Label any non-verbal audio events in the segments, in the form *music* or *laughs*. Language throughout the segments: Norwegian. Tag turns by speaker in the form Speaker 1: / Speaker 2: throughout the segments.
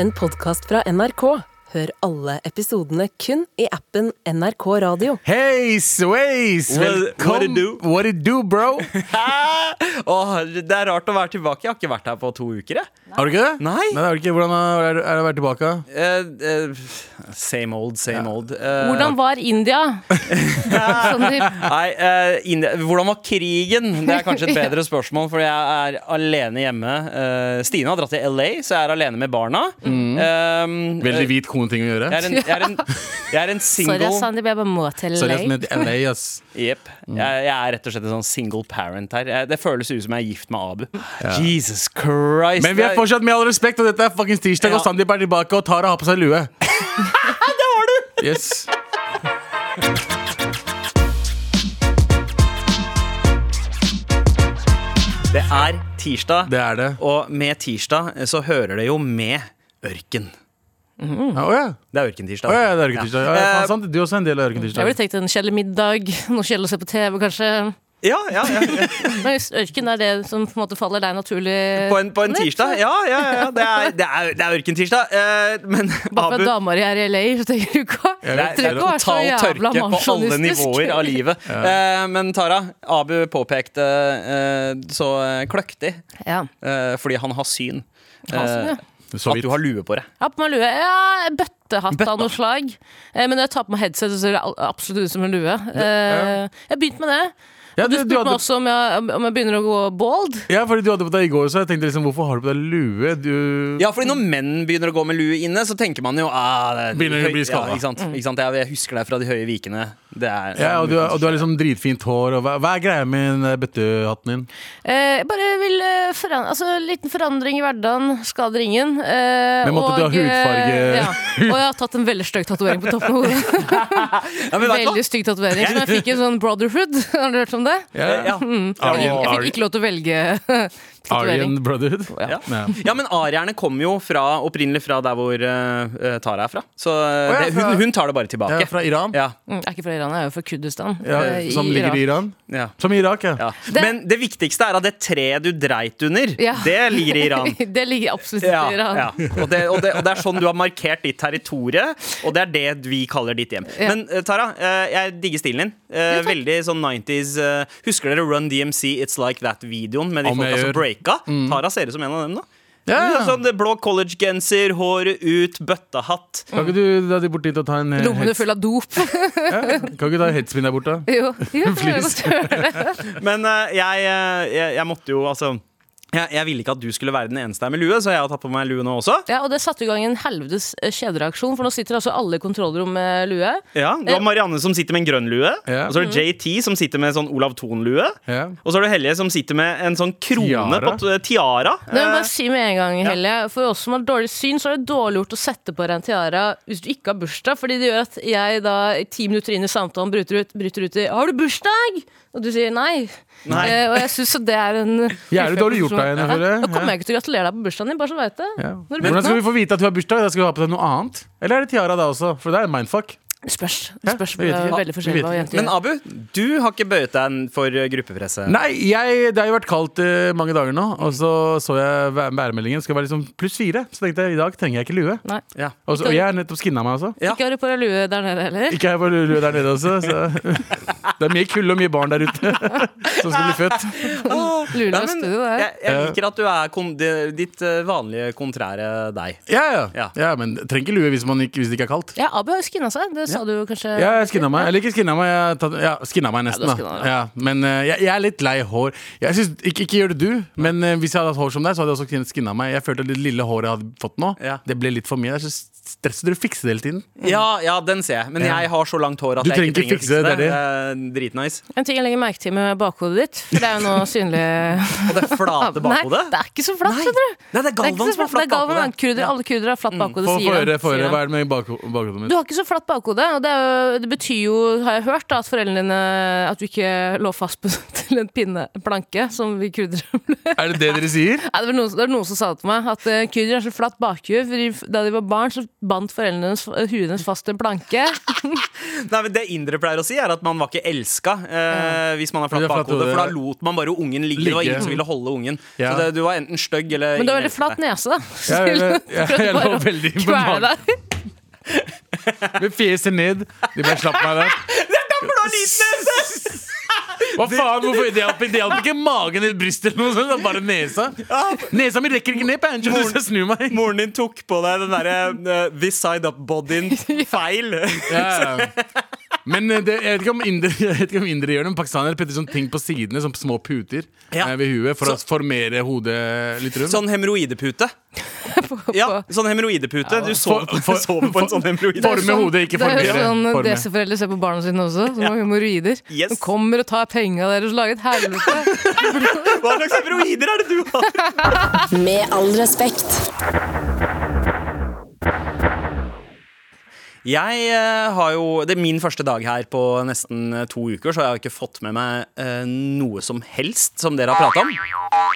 Speaker 1: en podkast fra NRK. Hør alle episodene kun i appen NRK Radio.
Speaker 2: Hei, sveis!
Speaker 3: What-
Speaker 2: Velkommen!
Speaker 3: what it do?
Speaker 2: What it do,
Speaker 3: *laughs*
Speaker 2: bro?
Speaker 3: Hæ? Åh, det er rart å være tilbake. Jeg har ikke vært her på to uker. Jeg.
Speaker 2: Har du ikke det?
Speaker 3: Nei.
Speaker 2: Nei, har du ikke. Hvordan har- er, er det å være tilbake?
Speaker 3: Eh, eh, same old, same old. Eh,
Speaker 4: Hvordan var
Speaker 3: *laughs*
Speaker 4: India? Sandeep?
Speaker 3: Nei, eh, India- hvordan var krigen? Det er
Speaker 4: *laughs*
Speaker 3: kanskje et bedre spørsmål, for jeg er alene hjemme. Eh, Stine har dratt til LA, så jeg er alene med barna.
Speaker 2: Mm.
Speaker 3: Eh,
Speaker 2: Veldig hvit kone-ting å gjøre.
Speaker 3: jeg er en, jeg er en, jeg er
Speaker 4: *laughs*
Speaker 3: en
Speaker 4: Sorry,
Speaker 3: single
Speaker 4: Sandeep, jeg bare må til
Speaker 2: Sorry,
Speaker 4: LA.
Speaker 2: ass, men det er LA, ass.
Speaker 3: Jep.
Speaker 2: Mm.
Speaker 3: Jeg, jeg er rett og slett en sånn single parent her. Jeg, det føles ut som jeg er gift med Abu. Jesus Christ.
Speaker 2: Men vi er
Speaker 3: det-
Speaker 2: fortsatt med all respekt, og dette er fuckings tirsdag,
Speaker 3: Ja.
Speaker 2: og Sandeep er tilbake og Tara har på seg
Speaker 3: *laughs*
Speaker 2: lue. det har du! Yes.
Speaker 3: det er tirsdag.
Speaker 2: Det er det.
Speaker 3: Og med tirsdag eh, så hører det jo med ørken.
Speaker 2: Å
Speaker 3: Mm.
Speaker 2: ja.
Speaker 3: Det er ørkentirsdag.
Speaker 2: Å, ja, det er ørkentirsdag. Ja, ja,
Speaker 3: Eh,
Speaker 2: faen, sant. Du er også en del av
Speaker 4: Jeg ville
Speaker 2: ørkentirsdag.
Speaker 4: tenkt en kjedelig middag, noe kjedelig å se på TV, kanskje.
Speaker 3: ja, ja, ja.
Speaker 4: *laughs* Men hvis ørken er det som på en måte faller deg naturlig
Speaker 3: På, en, på en tirsdag. Ja, ja, ja. Det er, det er, det er ørkentirsdag. Eh, Men
Speaker 4: Bare
Speaker 3: Abu
Speaker 4: fordi damer er i LA, så tenker du ikke
Speaker 2: Ja,
Speaker 3: det
Speaker 2: det
Speaker 3: er,
Speaker 2: Trenger ikke
Speaker 3: total tørke på alle nivåer av livet. Eh, men Tara, Abu påpekte eh, så eh, kløktig
Speaker 4: Ja.
Speaker 3: eh, fordi han har syn.
Speaker 4: Han har syn, ja.
Speaker 3: Eh,
Speaker 2: Så
Speaker 3: At
Speaker 2: vidt.
Speaker 3: du har lue på deg.
Speaker 4: Jeg har på meg lue. Ja, bøttehatt
Speaker 3: Bøtta.
Speaker 4: av noe slag. Eh, Men når jeg tar på meg headset, så ser det al- absolutt ut som en lue. Eh, Jeg begynte med det.
Speaker 2: Ja,
Speaker 4: Du
Speaker 2: du, du
Speaker 4: spurte meg
Speaker 2: hadde,
Speaker 4: også om jeg, om jeg begynner å gå bald.
Speaker 2: ja, fordi du hadde på deg i går, så jeg tenkte liksom, hvorfor har du på deg lue? Du
Speaker 3: Ja, fordi når menn begynner å gå med lue inne, så tenker man jo ah, det er
Speaker 2: Begynner å
Speaker 3: høy-
Speaker 2: bli skada.
Speaker 3: Ja, ikke sant?
Speaker 4: Mm.
Speaker 3: Ikke sant? Jeg, jeg husker deg fra de høye vikene. Det er,
Speaker 2: Ja, og du, har- og du har liksom dritfint hår, og hva, hva er greia med den der bøttehatten din?
Speaker 4: Eh, jeg bare vil eh, foran altså, Liten forandring i hverdagen skader ingen. Eh,
Speaker 2: Men måtte du
Speaker 4: og,
Speaker 2: ha
Speaker 4: eh,
Speaker 2: hudfarge? *laughs*
Speaker 4: Ja. Og jeg har tatt en veldig stygg tatovering på toppen av hodet.
Speaker 3: Ja, men vet du hva?
Speaker 4: veldig stygg tatovering Som jeg fikk i en sånn Brotherhood. *laughs* Har du hørt om det?
Speaker 3: Eh, Ja.
Speaker 4: Mm.
Speaker 2: Ar-
Speaker 4: Jeg
Speaker 2: Ar-
Speaker 4: fikk ikke lov til å velge *laughs* tatovering.
Speaker 2: Aryan Brotherhood?
Speaker 3: Ja.
Speaker 2: Ja.
Speaker 3: ja, men arierne kommer jo fra, opprinnelig fra der hvor eh, Tara er fra. Så eh,
Speaker 2: Å, ja,
Speaker 3: det,
Speaker 2: fra-
Speaker 3: hun, hun tar det bare tilbake.
Speaker 2: Ja, fra Iran?
Speaker 3: Ja,
Speaker 4: Mm, Jeg er ikke fra Iran, jeg er jo fra Kurdistan.
Speaker 2: Ja,
Speaker 4: eh,
Speaker 2: som ligger i Iran?
Speaker 3: ja,
Speaker 2: Som i Irak, ja.
Speaker 3: ja.
Speaker 4: Det-
Speaker 3: Men det viktigste er at det treet du dreit under,
Speaker 4: Ja.
Speaker 3: det ligger i
Speaker 2: *laughs*
Speaker 3: Iran.
Speaker 4: *laughs* det ligger absolutt
Speaker 3: *laughs* Ja,
Speaker 4: i Iran.
Speaker 3: ja. Og, det, og, det, og det er sånn du har markert ditt territorie, og det er det vi kaller ditt hjem.
Speaker 4: Ja.
Speaker 3: Men eh, Tara, eh, jeg digger stilen din. Eh, veldig sånn 90s. eh, husker dere Run DMC It's Like That-videoen med de
Speaker 2: Om jeg
Speaker 3: folka
Speaker 2: gjør. Mm.
Speaker 3: som breaka? Tara ser ut som en av dem nå.
Speaker 2: Ja, ja.
Speaker 3: Sånn det blå collegegenser, håret ut, bøttehatt.
Speaker 2: Kan ikke du dra de bort dit og ta en eh,
Speaker 4: Lommene
Speaker 2: heads-
Speaker 4: fulle av dop. *laughs*
Speaker 2: ja, Kan ikke du ta en headspin der borte?
Speaker 4: jo,
Speaker 2: *laughs*
Speaker 4: jo, det er godt.
Speaker 3: Men eh, jeg, eh, jeg, jeg måtte jo altså jeg, jeg ville ikke at du skulle være den eneste her med lue, så jeg har tatt på meg lue nå også.
Speaker 4: ja, og det satte i gang en helvetes eh, kjedereaksjon, for nå sitter altså alle i kontrollrom med lue.
Speaker 3: Ja, Du har Marianne som sitter med en grønn lue.
Speaker 2: Ja.
Speaker 3: Og så er det JT som sitter med en sånn Olav Thon-lue.
Speaker 2: Ja.
Speaker 3: Og så er det Helje som sitter med en sånn krone
Speaker 2: Tiara.
Speaker 3: på t- tiara. Eh,
Speaker 4: Det må jeg
Speaker 2: Eh,
Speaker 4: bare si med en gang, Helge. For oss som har dårlig syn, så er det dårlig gjort å sette på deg en tiara hvis du ikke har bursdag. Fordi det gjør at jeg da i ti minutter inn i samtalen bryter ut, bryter ut i 'Har du bursdag?' Og du sier nei.
Speaker 3: Nei.
Speaker 4: Eh, og jeg syns det er en
Speaker 2: *laughs* Jævlig dårlig gjort av henne,
Speaker 4: Ja,
Speaker 2: føler jeg.
Speaker 4: Nå kommer
Speaker 2: Ja.
Speaker 4: jeg ikke til å gratulere deg på bursdagen din, bare så du veit det.
Speaker 2: Ja.
Speaker 4: Når du
Speaker 2: Hvordan skal vi
Speaker 4: begynner
Speaker 2: få vite at du har bursdag? Da skal du ha på deg noe annet? Eller er det tiara da også? For det er mindfuck.
Speaker 4: Spørs.
Speaker 2: Hæ?
Speaker 4: Spørs
Speaker 2: Vi vet
Speaker 4: eh,
Speaker 2: ikke.
Speaker 4: veldig
Speaker 2: Vi vet
Speaker 4: forskjellig hva
Speaker 2: ikke.
Speaker 4: jenter
Speaker 3: Men
Speaker 4: gjør.
Speaker 3: Abu, du har ikke bøyet deg en for eh, gruppepresset.
Speaker 2: Nei, jeg, det har jo vært kaldt eh, mange dager nå, og så så jeg væ- værmeldingen skal være liksom pluss fire. Så tenkte jeg i dag trenger jeg ikke lue.
Speaker 4: Nei.
Speaker 3: Ja.
Speaker 2: Og, så, og jeg har nettopp skinna meg også.
Speaker 3: Ja.
Speaker 4: Ikke har du på deg lue der nede heller?
Speaker 2: Ikke jeg på lue der nede også, så *laughs* det er mye kulde og mye barn der ute *laughs* som skal bli født.
Speaker 4: Lure
Speaker 3: Nei,
Speaker 4: deg i
Speaker 3: men,
Speaker 4: studio der.
Speaker 3: jeg,
Speaker 2: Eh.
Speaker 3: jeg liker at du er kon det- ditt eh, vanlige kontrære deg.
Speaker 2: Ja, ja.
Speaker 3: Ja.
Speaker 2: ja men trenger ikke lue hvis, man ikke, hvis det ikke er kaldt.
Speaker 4: Ja, Abu har jo skinna seg. Det sa du jo kanskje.
Speaker 2: Ja, jeg skinna meg. Eller ikke skinna meg, jeg har tatt, ja, skinna meg
Speaker 4: Ja,
Speaker 2: nesten.
Speaker 4: du
Speaker 2: da.
Speaker 4: skinna deg.
Speaker 2: Ja, men eh, jeg, jeg er litt lei hår. Jeg synes, ikke, ikke gjør det du, men eh, hvis jeg hadde hatt hår som deg, så hadde jeg også skin- skinna meg. Jeg følte at det lille håret jeg hadde fått nå,
Speaker 3: Ja.
Speaker 2: det ble litt for mye. Det er så stressende å fikse det hele tiden.
Speaker 4: Mm.
Speaker 3: Ja, ja, den ser jeg. Men
Speaker 2: Ja.
Speaker 3: jeg har så langt hår at
Speaker 2: Du
Speaker 3: jeg ikke
Speaker 2: trenger ikke
Speaker 3: trenger å fikse det.
Speaker 2: fikse det, det
Speaker 3: Eh, Dritnice.
Speaker 4: En ting jeg legger merke til med bakhodet ditt, for det er jo
Speaker 2: *laughs*
Speaker 4: nå synlig
Speaker 3: Og det flate bakhodet.
Speaker 4: *laughs* Nei, det er ikke så flatt, skjønner du.
Speaker 3: Nei, det er
Speaker 4: Det er ikke
Speaker 3: Galvan
Speaker 4: så
Speaker 3: som har
Speaker 4: flatt. Det
Speaker 3: flatt
Speaker 4: er Galvan,
Speaker 3: bakhode.
Speaker 4: han kurder, alle kurdere har flatt bakhode,
Speaker 2: Mm. Få
Speaker 4: sier
Speaker 2: få
Speaker 4: han.
Speaker 2: høre, få
Speaker 4: sier
Speaker 2: høre.
Speaker 4: han.
Speaker 2: Hva er det med bakho- bakhodet
Speaker 4: Du
Speaker 2: mitt?
Speaker 4: har ikke så flatt bakhode. det. Og det, er jo, det betyr jo, har jeg hørt, da, at foreldrene dine At du ikke lå fast på, *laughs* til en pinne, en planke, som vi *laughs* kurdere ble.
Speaker 2: Er det det dere sier?
Speaker 4: Nei, det var noen, det var noen som sa det til meg, at uh, kurdere har så flatt bakhue. For de- da de var barn, så bandt foreldrene deres- huet deres fast til en planke.
Speaker 3: Nei, men Det indere pleier å si, er at man var ikke elska eh, hvis man har flatt
Speaker 2: Det er flatt
Speaker 3: bakhode.
Speaker 2: hode.
Speaker 3: For da lot man bare ungen ligge. Det var
Speaker 2: Ligge.
Speaker 3: ingen som ville holde ungen.
Speaker 2: Ja.
Speaker 3: Så det, du var enten stygg eller
Speaker 4: Men det var
Speaker 3: ingen
Speaker 4: veldig flatt nese,
Speaker 3: elsket deg.
Speaker 4: da. *laughs*
Speaker 2: Ja,
Speaker 4: Til-
Speaker 2: jeg, jeg,
Speaker 4: prøvde
Speaker 2: jeg lå
Speaker 4: bare å
Speaker 2: veldig
Speaker 4: kvele
Speaker 2: imponert.
Speaker 4: deg. *laughs*
Speaker 2: Med fjeset ned. De bare slapp meg der. Hva faen, hvorfor Det hjalp det hjalp ikke magen eller brystet, eller noe sånt, det var bare nesa. Nesa mi rekker ikke ned på Angel, så jeg snur meg.
Speaker 3: Moren din tok på deg den derre eh, this
Speaker 4: *laughs*
Speaker 3: side up-bodyen feil.
Speaker 2: Ja, ja. Men eh, det, jeg vet ikke om indere, *laughs* jeg vet ikke om indere gjør det, men pakistanere putter sånne ting på sidene, som små puter
Speaker 3: Ja.
Speaker 2: eh, ved huet, for
Speaker 3: Så-
Speaker 2: å formere hodet litt rundt.
Speaker 3: Sånn hemoroidepute. Ja, sånn hemoroidepute. Du sover på,
Speaker 2: For- for-
Speaker 3: *laughs* sover på en sånn hemoroide.
Speaker 2: for- Forme hodet, ikke
Speaker 4: Det er jo
Speaker 2: formere.
Speaker 4: sånn
Speaker 2: Forme.
Speaker 4: DC-foreldre ser på barna sine også, som har hemoroider.
Speaker 3: Yes.
Speaker 4: De kommer og tar penga deres og lager et helvete.
Speaker 3: Hva slags hemoroider er det du har?
Speaker 1: Med all respekt.
Speaker 3: Jeg eh, har jo, Det er min første dag her på nesten eh, to uker, så jeg har ikke fått med meg eh, noe som helst som dere har prata om.
Speaker 4: *laughs*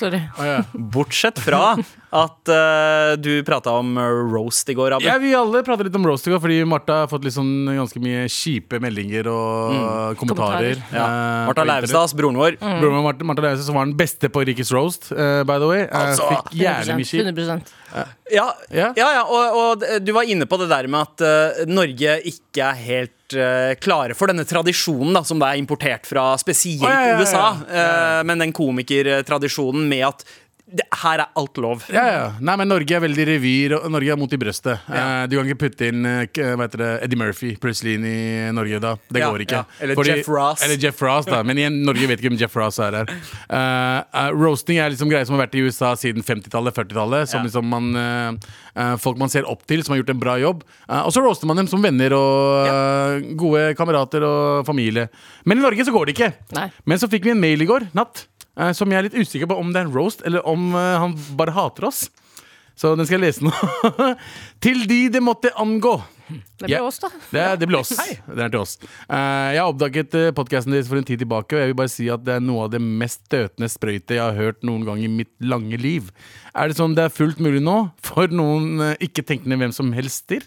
Speaker 4: Sorry.
Speaker 2: Å, ja.
Speaker 3: Bortsett fra at eh, du prata om eh, roast i går, Abu.
Speaker 2: Ja, vi alle prater litt om roast i går, fordi Martha har fått litt sånn ganske mye kjipe meldinger og kommentarer.
Speaker 4: Kommentarer.
Speaker 3: Mm.
Speaker 2: eh,
Speaker 3: Ja. Martha altså. Mm.
Speaker 2: på internett.
Speaker 3: Leivstads, broren vår.
Speaker 2: Broren min Martha, Martha Leivestad, som var den beste på Rikets roast, eh, by the way. eh,
Speaker 3: Altså,
Speaker 2: fikk jævlig mye kjipt.
Speaker 4: 100%.
Speaker 3: Ja, ja.
Speaker 2: Ja.
Speaker 3: ja, og, og d- du var inne på det der med at eh, Norge ikke er helt eh, klare for denne tradisjonen da, som det er importert fra spesielt
Speaker 2: Å, ja, ja, ja.
Speaker 3: USA. eh, men den komikertradisjonen med at det, her er alt lov.
Speaker 2: Ja, ja. Nei, men Norge er veldig revir, og Norge er mot i brøstet. Eh, du kan ikke putte inn eh, k- hva heter det, Eddie Murphy plutselig inn i Norge da. Det
Speaker 3: Ja,
Speaker 2: går ikke.
Speaker 3: ja. Eller Jeff Ross.
Speaker 2: Eller Jeff Ross, da. Men igjen, Norge vet ikke om Jeff Ross er her. Eh, eh, roasting er liksom greier som har vært i USA siden 50-tallet, 40-tallet. Som
Speaker 3: Ja.
Speaker 2: liksom man eh, eh, Folk man ser opp til, som har gjort en bra jobb. Eh, og så roaster man dem som venner og eh, gode kamerater og familie. Men i Norge så går det ikke.
Speaker 4: Nei.
Speaker 2: Men så fikk vi en mail i går natt eh, som jeg er litt usikker på om det er en roast, eller om eh, han bare hater oss. Så den skal jeg lese nå. *laughs* til de det måtte angå.
Speaker 4: Det
Speaker 2: Ja.
Speaker 4: ble oss, da.
Speaker 2: Det, er- det blir oss. Den er til oss. Eh, jeg har oppdaget uh, podkasten deres for en tid tilbake, og jeg vil bare si at det er noe av det mest støtende sprøytet jeg har hørt noen gang i mitt lange liv. Er det sånn det er fullt mulig nå for noen eh, ikke-tenkende hvem som helster?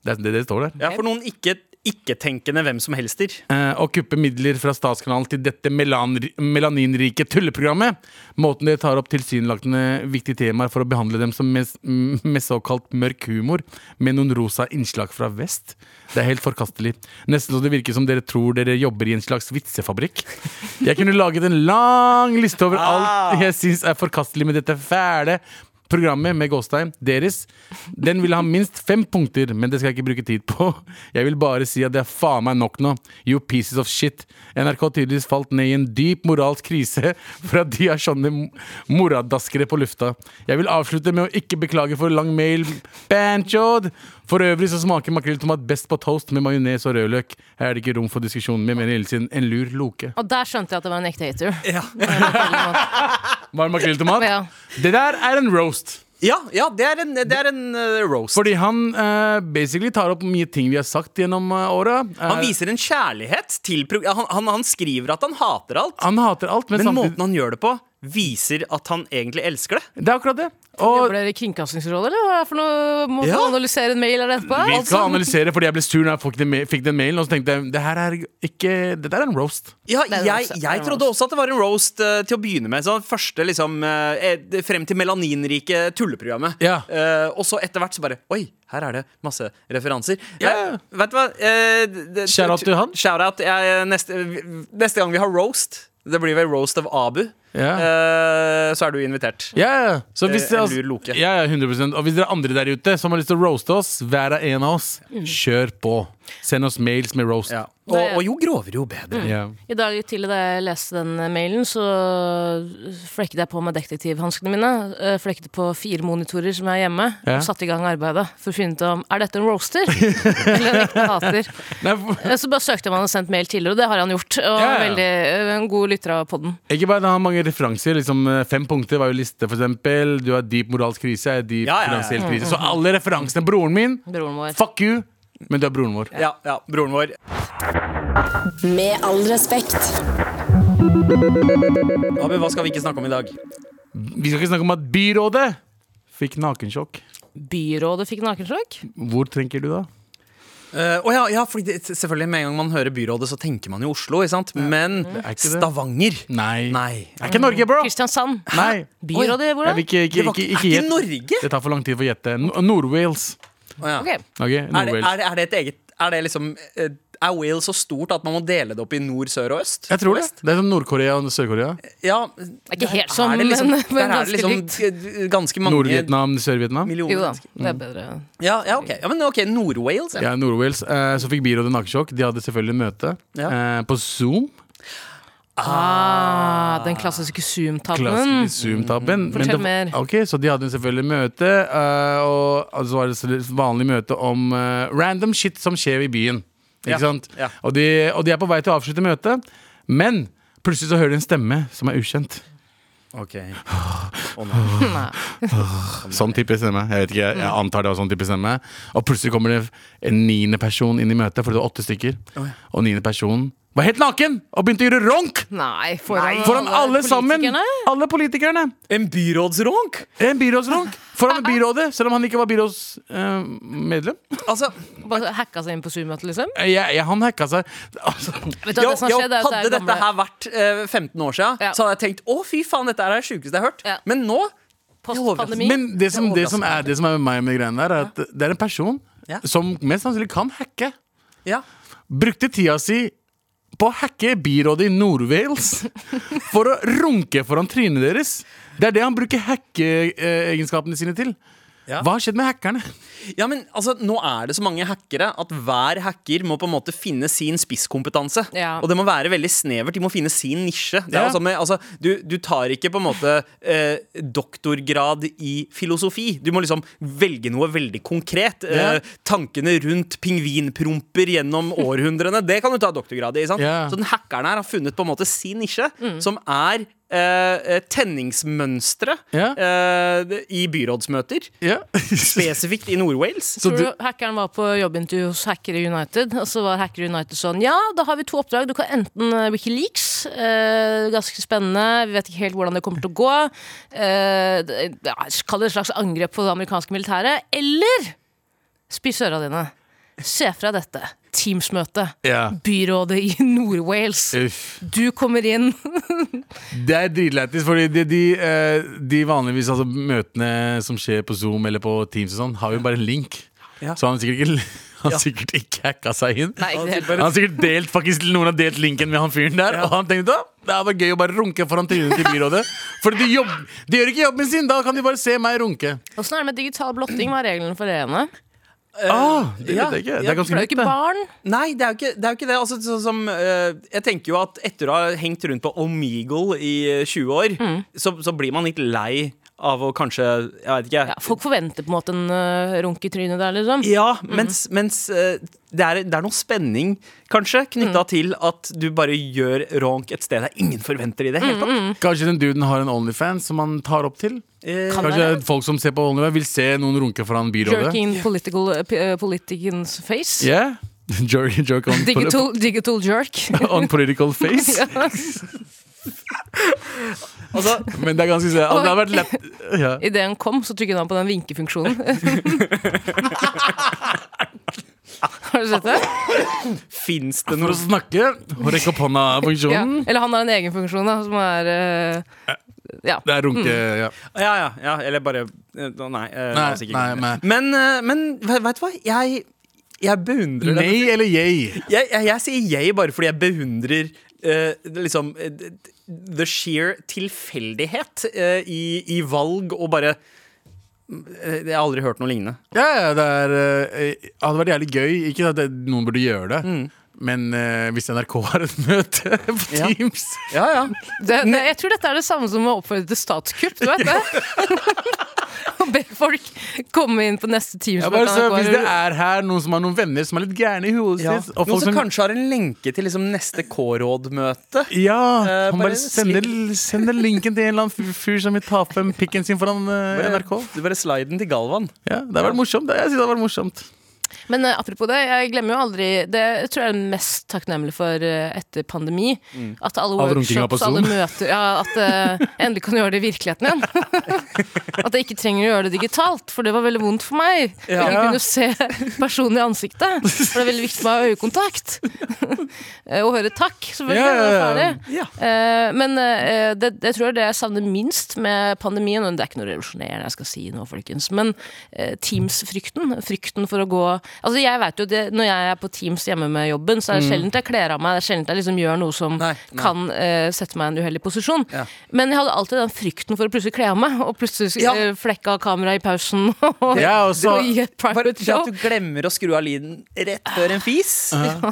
Speaker 2: Det er sånn det det står der.
Speaker 3: Ja, for noen ikke- ikke-tenkende hvem som helster.
Speaker 2: eh, å kuppe midler fra statskanalen til dette melan melaninrike tulleprogrammet. Måten dere tar opp tilsynelatende viktige temaer for å behandle dem som mes- m- med såkalt mørk humor, med noen rosa innslag fra vest. Det er helt forkastelig. Nesten så det virker som dere tror dere jobber i en slags vitsefabrikk. Jeg kunne laget en lang liste over alt jeg syns er forkastelig med dette fæle Programmet med Gåstein, deres, den vil ha minst fem punkter, men det skal jeg ikke bruke tid på. Jeg vil bare si at det er faen meg nok nå. You pieces of shit. NRK tydeligvis falt ned i en dyp moralsk krise for at de er sånne m- moradaskere på lufta. Jeg vil avslutte med å ikke beklage for lang mail. Banchod! For øvrig så smaker makrell i tomat best på toast med majones og rødløk. Her er det ikke rom for diskusjon med mer hilsen en lur loke.
Speaker 4: Og der skjønte jeg at det var en ekte *laughs* hater.
Speaker 2: Var det makrell i tomat?
Speaker 4: Ja.
Speaker 2: Det der er en roast.
Speaker 3: *laughs* Ja, ja det er en, det er en eh, roast.
Speaker 2: Fordi han eh, basically tar opp mye ting vi har sagt gjennom uh, åra.
Speaker 3: Han viser en kjærlighet til pro- han, han, han skriver at han hater alt,
Speaker 2: han hater alt, men,
Speaker 3: men
Speaker 2: samtidig
Speaker 3: måten han gjør det på, viser at han egentlig elsker det.
Speaker 2: Det er akkurat det. Og
Speaker 4: Jobber dere i Kringkastingsrådet, eller hva er det for noe? Må
Speaker 3: Ja.
Speaker 4: man analysere en mail eller etterpå?
Speaker 2: vi skal
Speaker 4: Altså,
Speaker 2: analysere, fordi jeg ble sur når jeg fikk den, ma- fikk den mailen. Og så tenkte jeg det her er ikke Det der er en roast.
Speaker 3: Ja,
Speaker 4: er en
Speaker 3: jeg,
Speaker 4: roast, det er
Speaker 3: jeg
Speaker 4: en
Speaker 3: trodde også at det var en roast eh, til å begynne med. Så første liksom eh, eh, Frem til melaninrike tulleprogrammet.
Speaker 2: Ja.
Speaker 3: Eh, og så etter hvert så bare Oi, her er det masse referanser.
Speaker 2: Ja.
Speaker 3: Eh, vet du hva? Eh, det- det-
Speaker 2: Shout-out til han.
Speaker 3: Shout-out. Jeg, eh, neste, neste gang vi har roast, det blir vel roast av Abu,
Speaker 2: Ja.
Speaker 3: eh, så er du invitert.
Speaker 2: Ja, ja. Så hvis
Speaker 3: Eh, en
Speaker 2: altså-
Speaker 3: lur loke.
Speaker 2: Ja, ja, 100 Og hvis dere andre der ute som har lyst til å roaste oss, hver og en av oss, kjør på. Send oss mails med roast.
Speaker 3: Ja. Og, og jo grovere, jo bedre.
Speaker 2: Ja.
Speaker 4: I dag tidlig da jeg leste den mailen, så flekket jeg på med detektivhanskene mine. eh, Flekket på fire monitorer som er hjemme,
Speaker 2: Ja.
Speaker 4: og satte i gang arbeidet for å finne ut om er dette en
Speaker 2: *laughs*
Speaker 4: roaster eller en ekte hater.
Speaker 2: Nei, for-
Speaker 4: Eh, Så bare søkte jeg om han hadde sendt mail tidligere, og det har han gjort. Og
Speaker 2: Ja, ja.
Speaker 4: veldig, eh, en god lytter av podden.
Speaker 2: Ikke bare det har mange referanser. Liksom, eh, fem punkter var jo liste, for eksempel. Du har dyp moralsk krise, jeg har dyp
Speaker 3: Ja, ja, ja.
Speaker 2: Mm-hmm. finansiell krise. Så alle referansene. Broren min,
Speaker 4: Broren vår.
Speaker 2: fuck you. Men du er broren vår.
Speaker 3: Ja, ja, broren vår.
Speaker 1: Med all respekt.
Speaker 3: Abu, hva skal vi ikke snakke om i dag?
Speaker 2: Vi skal ikke snakke om at byrådet fikk nakensjokk.
Speaker 4: Byrådet fikk nakensjokk.
Speaker 2: Hvor tenker du da?
Speaker 3: Eh, å ja, ja, fordi det, selvfølgelig Med en gang man hører byrådet, så tenker man jo Oslo. ikke sant? Men
Speaker 2: er ikke det.
Speaker 3: Stavanger
Speaker 2: Nei.
Speaker 3: Nei.
Speaker 2: Det er ikke Norge, bro!
Speaker 4: Kristiansand.
Speaker 2: Nei.
Speaker 4: Byrådet,
Speaker 2: Jeg
Speaker 4: hvordan?
Speaker 2: vil ikke, ikke,
Speaker 3: Det var
Speaker 2: ikke,
Speaker 3: ikke-
Speaker 2: ikke,
Speaker 3: er ikke
Speaker 2: gjett.
Speaker 3: Norge?
Speaker 2: Det tar for lang tid for å gjette. No- Nord-Wales.
Speaker 3: Å ja.
Speaker 4: Ok.
Speaker 2: Ok,
Speaker 3: er, det,
Speaker 2: Nord-Wales.
Speaker 3: er, det, er det et eget Er det liksom eh, Er Wales så stort at man må dele det opp i nord, sør og øst?
Speaker 2: Jeg tror det. Det er som Nord-Korea og Sør-Korea.
Speaker 3: Ja,
Speaker 4: ikke
Speaker 3: der
Speaker 4: helt sånn,
Speaker 3: er det
Speaker 4: *laughs*
Speaker 3: liksom,
Speaker 4: men- men
Speaker 3: der er det
Speaker 4: ganske
Speaker 3: liksom g- ganske mange
Speaker 2: Nord-Vietnam, Sør-Vietnam.
Speaker 4: Jo da,
Speaker 3: millioner.
Speaker 4: det er bedre.
Speaker 3: Ja, ja, ok. Ja, men ok, Nord-Wales. Ja.
Speaker 2: Ja, Nord-Wales. Eh, så fikk byrådet nakensjokk. De hadde selvfølgelig møte
Speaker 3: Ja.
Speaker 2: eh, på Zoom.
Speaker 4: Ah, den klassiske Zoom-tabben.
Speaker 2: Klassisk Zoom-tabben.
Speaker 4: Mm. Fortell
Speaker 2: Men det-
Speaker 4: mer.
Speaker 2: Ok, så de hadde selvfølgelig møte, eh, og altså, var det et vanlig møte om eh, random shit som skjer i byen. Ikke
Speaker 3: Ja,
Speaker 2: sant?
Speaker 3: ja.
Speaker 2: Og, de, og de er på vei til å avslutte møtet, men plutselig så hører de en stemme som er ukjent.
Speaker 3: Ok. Å, nei.
Speaker 4: Nei.
Speaker 2: Sånn type stemme. Jeg vet ikke, jeg-
Speaker 3: Mm.
Speaker 2: jeg antar det var sånn type stemme. Og plutselig kommer det en niende person inn i møtet, for det var åtte stykker. Og niende person var helt naken og begynte å gjøre ronk!
Speaker 4: Nei, foran,
Speaker 2: Foran alle sammen!
Speaker 4: politikerne?
Speaker 2: Alle politikerne!
Speaker 3: En byrådsronk?
Speaker 2: En byrådsronk
Speaker 3: Ah,
Speaker 2: foran byrådet, selv om han ikke var eh, byrådsmedlem.
Speaker 3: Altså,
Speaker 4: Bare hacka seg inn på Zoom-møtet, liksom?
Speaker 2: Eh, jeg, jeg, han hacka seg. Altså,
Speaker 4: Vet du hva
Speaker 3: jo,
Speaker 4: det som
Speaker 3: jo,
Speaker 4: skjedde, er at
Speaker 3: hadde
Speaker 4: det er
Speaker 3: dette
Speaker 4: gamle
Speaker 3: her vært eh, 15 år siden,
Speaker 4: Ja.
Speaker 3: så hadde jeg tenkt å, fy faen, dette er det sjukeste jeg har hørt.
Speaker 4: Ja.
Speaker 3: Men nå
Speaker 4: postpandemi.
Speaker 2: men det som, det, som er, det som er med meg med greiene der, er at det er en person
Speaker 3: Ja.
Speaker 2: som mest sannsynlig kan hacke.
Speaker 3: ja.
Speaker 2: Brukte tida si på å hacke byrådet i Nord-Wales
Speaker 3: *laughs*
Speaker 2: for å runke foran trynet deres. Det er det han bruker hackeegenskapene sine til.
Speaker 3: Ja.
Speaker 2: Hva har skjedd med hackerne?
Speaker 3: ja, men altså, nå er det så mange hackere at hver hacker må på en måte finne sin spisskompetanse.
Speaker 4: Ja.
Speaker 3: Og det må være veldig snevert. De må finne sin nisje. Det er
Speaker 2: Ja.
Speaker 3: jo som med, altså, du, du tar ikke på en måte eh, doktorgrad i filosofi. Du må liksom velge noe veldig konkret.
Speaker 2: Ja.
Speaker 3: Eh, tankene rundt pingvinpromper
Speaker 2: *laughs*
Speaker 3: gjennom århundrene. Det kan du ta doktorgrad i. ikke sant?
Speaker 2: Ja. Mm.
Speaker 3: Så den hackeren her har funnet på en måte sin nisje, som er eh, tenningsmønstre
Speaker 2: Ja.
Speaker 3: eh, i byrådsmøter.
Speaker 2: Ja.
Speaker 3: Spesifikt i Nord-Wales.
Speaker 2: Så
Speaker 4: Tror
Speaker 2: du,
Speaker 4: du hackeren var på jobbintervju hos Hackere United, og så var Hackere United sånn Ja, da har vi to oppdrag. Du kan enten eh, Wikileaks, eh, ganske spennende, vi vet ikke helt hvordan det kommer til å gå. Eh, det- ja, Kall det et slags angrep på det amerikanske militæret. Eller spis øra dine. Se fra dette. Teams-møte.
Speaker 2: *laughs* ja.
Speaker 4: Byrådet i *laughs* Nord-Wales.
Speaker 2: Uff.
Speaker 4: Du kommer inn.
Speaker 2: Det er dritlættis, fordi de, de, eh, de vanligvis altså, møtene som skjer på Zoom eller på Teams og sånn, har jo bare en link.
Speaker 3: Ja.
Speaker 2: Så han har sikkert ikke, *laughs* han har sikkert ikke hacka seg inn.
Speaker 4: Nei, ikke det.
Speaker 2: Han har sikkert delt, faktisk Noen har delt linken med han fyren der, og han tenkte da det er bare gøy å bare runke foran trynet til byrådet. For de, jobb, de gjør ikke jobben sin, da kan de bare se meg runke.
Speaker 4: Åssen er det med digital blotting? Hva er reglene for det ene?
Speaker 2: Ah, det
Speaker 3: ja,
Speaker 2: vet jeg ikke. Det
Speaker 3: ja,
Speaker 2: er
Speaker 4: For
Speaker 2: ganske
Speaker 4: det er jo
Speaker 2: nytt,
Speaker 4: ikke
Speaker 2: det.
Speaker 4: barn.
Speaker 3: Nei, det er jo ikke det. Er jo ikke det. Altså, sånn som, eh, jeg tenker jo at etter å ha hengt rundt på Omegle i eh, 20 år,
Speaker 2: Mm.
Speaker 3: så, så blir man litt lei av å kanskje Jeg vet ikke.
Speaker 4: Ja, folk forventer på en måte en øh, runk i trynet der, liksom.
Speaker 3: Ja,
Speaker 2: Mm.
Speaker 3: mens, mens eh, det, er, det er noe spenning, kanskje, knytta
Speaker 2: Mm.
Speaker 3: til at du bare gjør ronk et sted der ingen forventer i det
Speaker 2: Mm,
Speaker 3: hele tatt.
Speaker 2: Kanskje den duden har en Onlyfans som han tar opp til?
Speaker 3: Eh,
Speaker 4: Kan
Speaker 2: Kanskje
Speaker 4: være.
Speaker 2: folk som ser på Onlyfans, vil se noen runke foran byrådet?
Speaker 4: Jerking political, uh, p- uh, politicans face.
Speaker 2: Yeah. *laughs* Jerk, jerk on
Speaker 4: *laughs* Digital, digital
Speaker 2: *laughs*
Speaker 4: jerk.
Speaker 2: On political
Speaker 3: *laughs*
Speaker 2: face.
Speaker 4: *laughs*
Speaker 3: altså,
Speaker 2: Men det er ganske søtt. Altså, det har vært lett ja.
Speaker 4: Idet han kom, så trykket han på den
Speaker 2: *laughs*
Speaker 4: vinkefunksjonen. Har du sett det?
Speaker 3: Fins det
Speaker 2: For
Speaker 3: noe
Speaker 2: å snakke og rekke opp
Speaker 4: Ja.
Speaker 2: hånda-funksjonen.
Speaker 4: Eller han har en egen funksjon, da, som er øh, Ja.
Speaker 2: Det er runke
Speaker 3: Mm.
Speaker 2: ja.
Speaker 3: Ja, ja, ja. Eller bare eh, Nei. eh,
Speaker 2: Nei,
Speaker 3: la oss ikke
Speaker 2: nei, nei.
Speaker 3: gå inn i det. Men, eh, men ve- vet du hva? Jeg, jeg beundrer det.
Speaker 2: Nei eller yay?
Speaker 3: Jeg, jeg, jeg sier jeg bare fordi jeg beundrer eh, det liksom eh, d- d- the sheer tilfeldighet eh, i, i valg og bare eh, Jeg har aldri hørt noe lignende.
Speaker 2: Ja, ja, det er, eh, hadde vært jævlig gøy. Ikke at det, noen burde gjøre det, men eh, hvis NRK har et møte på
Speaker 3: Mm. Ja.
Speaker 2: Teams
Speaker 3: Ja, ja.
Speaker 2: *laughs*
Speaker 4: Det, det, jeg tror dette er det samme som å oppfordre til statskupp, du vet
Speaker 2: *laughs*
Speaker 4: det? *laughs* Å be folk komme inn på neste team.
Speaker 2: ja, bare, så, Hvis det er her noen som har noen venner som er litt gærne i hodet sitt og
Speaker 3: Noen
Speaker 2: folk
Speaker 3: som
Speaker 2: som-
Speaker 3: kanskje har en lenke til liksom neste K-rådmøte.
Speaker 2: Ja,
Speaker 3: Eh,
Speaker 2: han
Speaker 3: bare
Speaker 2: bare sender, sender linken til en eller annen fyr- fyr som vil ta frem pikken sin foran eh,
Speaker 3: Bare-
Speaker 2: NRK.
Speaker 3: Bare sliden til Galvan.
Speaker 2: Ja, det har vært morsomt. Jeg synes det har vært morsomt
Speaker 4: Men eh, apropos det, jeg glemmer jo aldri Det tror jeg er mest takknemlig for eh, etter pandemi.
Speaker 2: Mm.
Speaker 4: At alle
Speaker 2: All runkinga på
Speaker 4: workshops, alle
Speaker 2: Zoom.
Speaker 4: møter Ja, at eh, jeg endelig kan gjøre det i virkeligheten igjen.
Speaker 2: *laughs*
Speaker 4: at jeg ikke trenger å gjøre det digitalt, for det var veldig vondt for meg.
Speaker 3: Ja.
Speaker 4: Jeg ikke kunne se personen i ansiktet. For det er veldig viktig for meg å ha øyekontakt.
Speaker 2: *laughs*
Speaker 4: Eh, og høre takk, selvfølgelig.
Speaker 2: Ja, ja, ja.
Speaker 4: når det er ferdig. Eh, men eh, det, det tror jeg det jeg savner minst med pandemien og Det er ikke noe revolusjonerende jeg skal si nå, folkens. Men eh, Teams-frykten. Frykten for å gå Altså jeg vet jo det, Når jeg er på Teams hjemme med jobben, så er det sjelden jeg kler av meg. Det er sjelden jeg liksom gjør noe som
Speaker 3: Mm. Nei, nei.
Speaker 4: kan eh, sette meg i en uheldig posisjon.
Speaker 3: Ja.
Speaker 4: Men jeg hadde alltid den frykten for å plutselig kle av meg, og plutselig
Speaker 3: Ja.
Speaker 4: eh, flekke av kameraet i pausen. *laughs* Og,
Speaker 2: Ja, og så-
Speaker 4: og gi et
Speaker 3: Bare
Speaker 4: private
Speaker 3: det
Speaker 4: show.
Speaker 3: at du glemmer å skru av lyden rett før en fis,